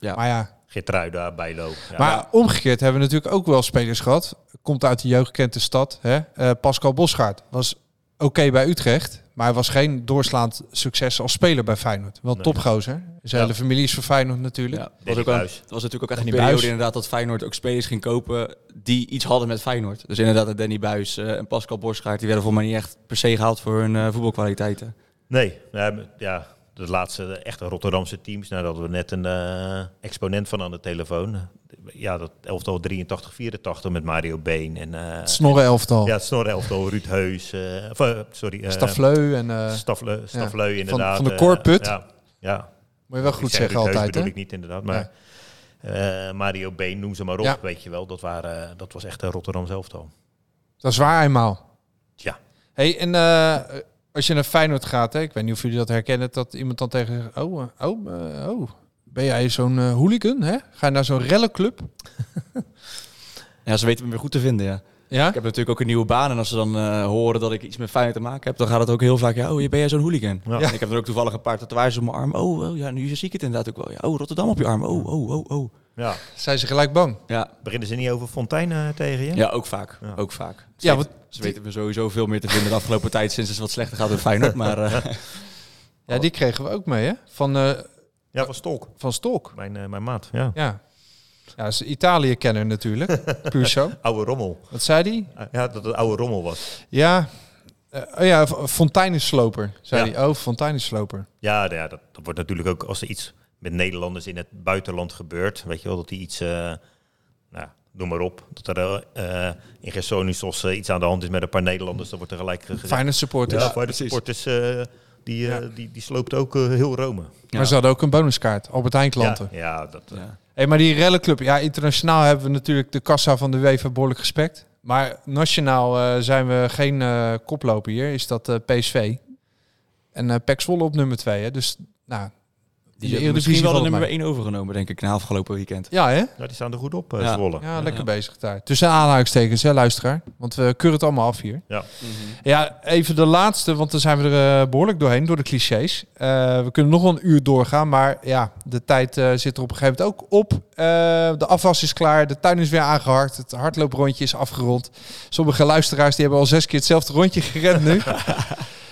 Maar ja.
Geertruida, Bijlo. Ja.
Maar omgekeerd hebben we natuurlijk ook wel spelers gehad. Komt uit de jeugd, kent de stad. Hè? Eh, Pascal Bosgaard was oké bij Utrecht. Maar hij was geen doorslaand succes als speler bij Feyenoord. Wel
Nee.
topgozer. Zijn
Ja.
hele familie is van Feyenoord natuurlijk.
ja, het was, ook wel-
Buijs.
het was natuurlijk ook echt een
Danny
periode
Buijs.
inderdaad dat Feyenoord ook spelers ging kopen die iets hadden met Feyenoord. Dus inderdaad een Danny Buis eh, en Pascal Borsgaard, die werden volgens mij niet echt per se gehaald voor hun eh, voetbalkwaliteiten.
Nee, nee, maar ja, de laatste echte Rotterdamse teams. Nou, daar hadden we net een eh, exponent van aan de telefoon. Ja, dat elftal 83, 84 met Mario Been. En, eh,
Het Snorren elftal.
ja, het snor elftal, Ruud Heus. eh, of, eh, sorry. eh,
Stafleu en... eh,
Stafle, Stafleu,
van-
inderdaad.
van de
eh,
Korput.
ja, ja.
moet je wel
Ik
goed
zeg
zeggen
Ruud Heus
altijd.
bedoel
Hè?
ik niet inderdaad, maar... eh, Mario Been, noem ze maar op,
Ja.
weet je wel. Dat, waren, eh, dat was echt een Rotterdam elftal.
Dat is waar eenmaal.
Ja.
Hey, en eh, als je naar Feyenoord gaat, hè, ik weet niet of jullie dat herkennen, dat iemand dan tegen je zegt, oh, eh, oh, eh, oh, ben jij zo'n eh, hooligan? Hè? Ga je naar zo'n rellenclub?
Ja, ze weten me weer goed te vinden, ja.
Ja?
Ik heb natuurlijk ook een nieuwe baan en als ze dan eh, horen dat ik iets met Feyenoord te maken heb, dan gaat het ook heel vaak, ja, oh, ben jij zo'n hooligan?
Ja.
En ik heb er ook toevallig een paar tatoeages op mijn arm. Oh, oh, ja, nu zie ik het inderdaad ook wel. Ja, oh, Rotterdam op je arm. Oh, oh, oh, oh.
Ja,
Zijn ze gelijk bang?
Ja,
beginnen ze niet over Fontein eh, tegen je?
ja ook vaak. Ook vaak. Ze,
Ja,
weten-
want
ze weten me sowieso veel meer te vinden de afgelopen tijd sinds het wat slechter gaat met Feyenoord. Maar eh,
Oh.
Ja, die kregen we ook mee, hè? Van, eh,
Ja, van Stolk,
van Stolk.
mijn, eh, mijn maat. Ja.
Ja. Ja, dat is een Italië-kenner natuurlijk. Puur zo.
Oude rommel.
Wat zei die?
Ja, dat het oude rommel was.
Ja, eh, oh ja, f- fonteinensloper, zei
Ja.
hij. Oh, fonteinensloper.
Ja, nou ja dat, dat wordt natuurlijk ook als er iets met Nederlanders in het buitenland gebeurt. Weet je wel, dat die iets, eh, nou, noem maar op. Dat er eh, eh, in Gersonisos eh, iets aan de hand is met een paar Nederlanders. Dat wordt tegelijk gezegd.
Feyenoord
ja,
supporters.
voor de supporters, eh, die, eh, die, die sloopt ook eh, heel Rome.
Maar ze hadden ook een bonuskaart. Albert Heijn klanten.
Ja, ja, dat, eh,
ja.
Hey, maar die rellenclub, ja, internationaal hebben we natuurlijk de kassa van de UEFA behoorlijk respect. Maar nationaal eh, zijn we geen eh, koploper hier, is dat eh, PSV. En eh PEC Zwolle op nummer 2, hè. Dus, nou,
die
de
hebben
Eredivisie
misschien wel de
valt
nummer
mee.
1 overgenomen, denk ik, na afgelopen weekend.
Ja, hè?
nou, die staan er goed op, eh,
Ja.
Zwolle.
Ja, lekker bezig daar. Tussen aanhalingstekens, hè, luisteraar. Want we keuren het allemaal af hier.
Ja.
Ja, even de laatste, want dan zijn we er eh, behoorlijk doorheen, door de clichés. Eh, we kunnen nog wel een uur doorgaan, maar ja, de tijd eh, zit er op een gegeven moment ook op. Eh, de afwas is klaar, de tuin is weer aangehakt, het hardlooprondje is afgerond. Sommige luisteraars die hebben al zes keer hetzelfde rondje gerend nu.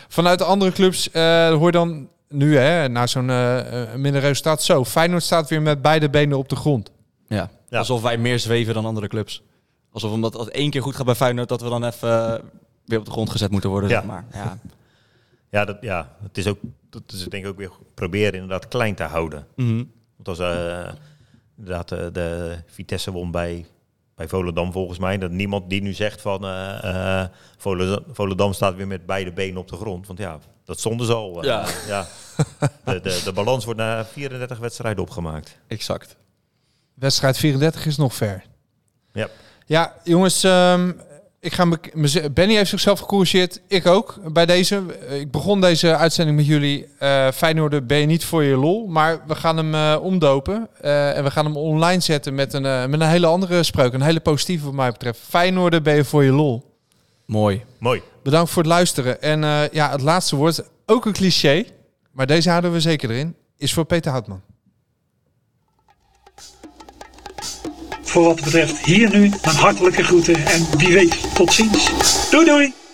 Vanuit de andere clubs eh, hoor je dan nu, hè, na zo'n eh, eh, minder resultaat, zo. Feyenoord staat weer met beide benen op de grond.
Ja.
Ja.
Alsof wij meer zweven dan andere clubs. Alsof omdat het één keer goed gaat bij Feyenoord, dat we dan even eh, weer op de grond gezet moeten worden.
Ja.
Zeg maar. ja.
Ja, dat, ja het is ook, dat is denk ik ook weer proberen inderdaad klein te houden.
Mhm.
Want als eh, inderdaad eh, de Vitesse won bij, bij Volendam volgens mij, dat niemand die nu zegt van eh, eh, Volendam, Volendam staat weer met beide benen op de grond. Want ja, dat stonden ze al. eh,
Ja.
ja. De, de, de balans wordt na 34 wedstrijden opgemaakt.
Exact.
Wedstrijd 34 is nog ver.
Ja.
Ja, jongens, ehm, Ik ga me- mez- Benny heeft zichzelf gecorrigeerd. Ik ook. Bij deze. Eh, Ik begon deze uitzending met jullie. eh Feyenoord ben je niet voor je lol. Maar we gaan hem eh, omdopen. eh, en we gaan hem online zetten met een, eh, met een hele andere spreuk. Een hele positieve wat mij betreft. Feyenoord ben je voor je lol.
Mooi.
Mooi.
Bedankt voor het luisteren. En eh, ja, het laatste woord, ook een cliché, maar deze houden we zeker erin, is voor Peter Houtman.
Voor wat betreft hier nu, een hartelijke groeten en wie weet, tot ziens. Doei doei!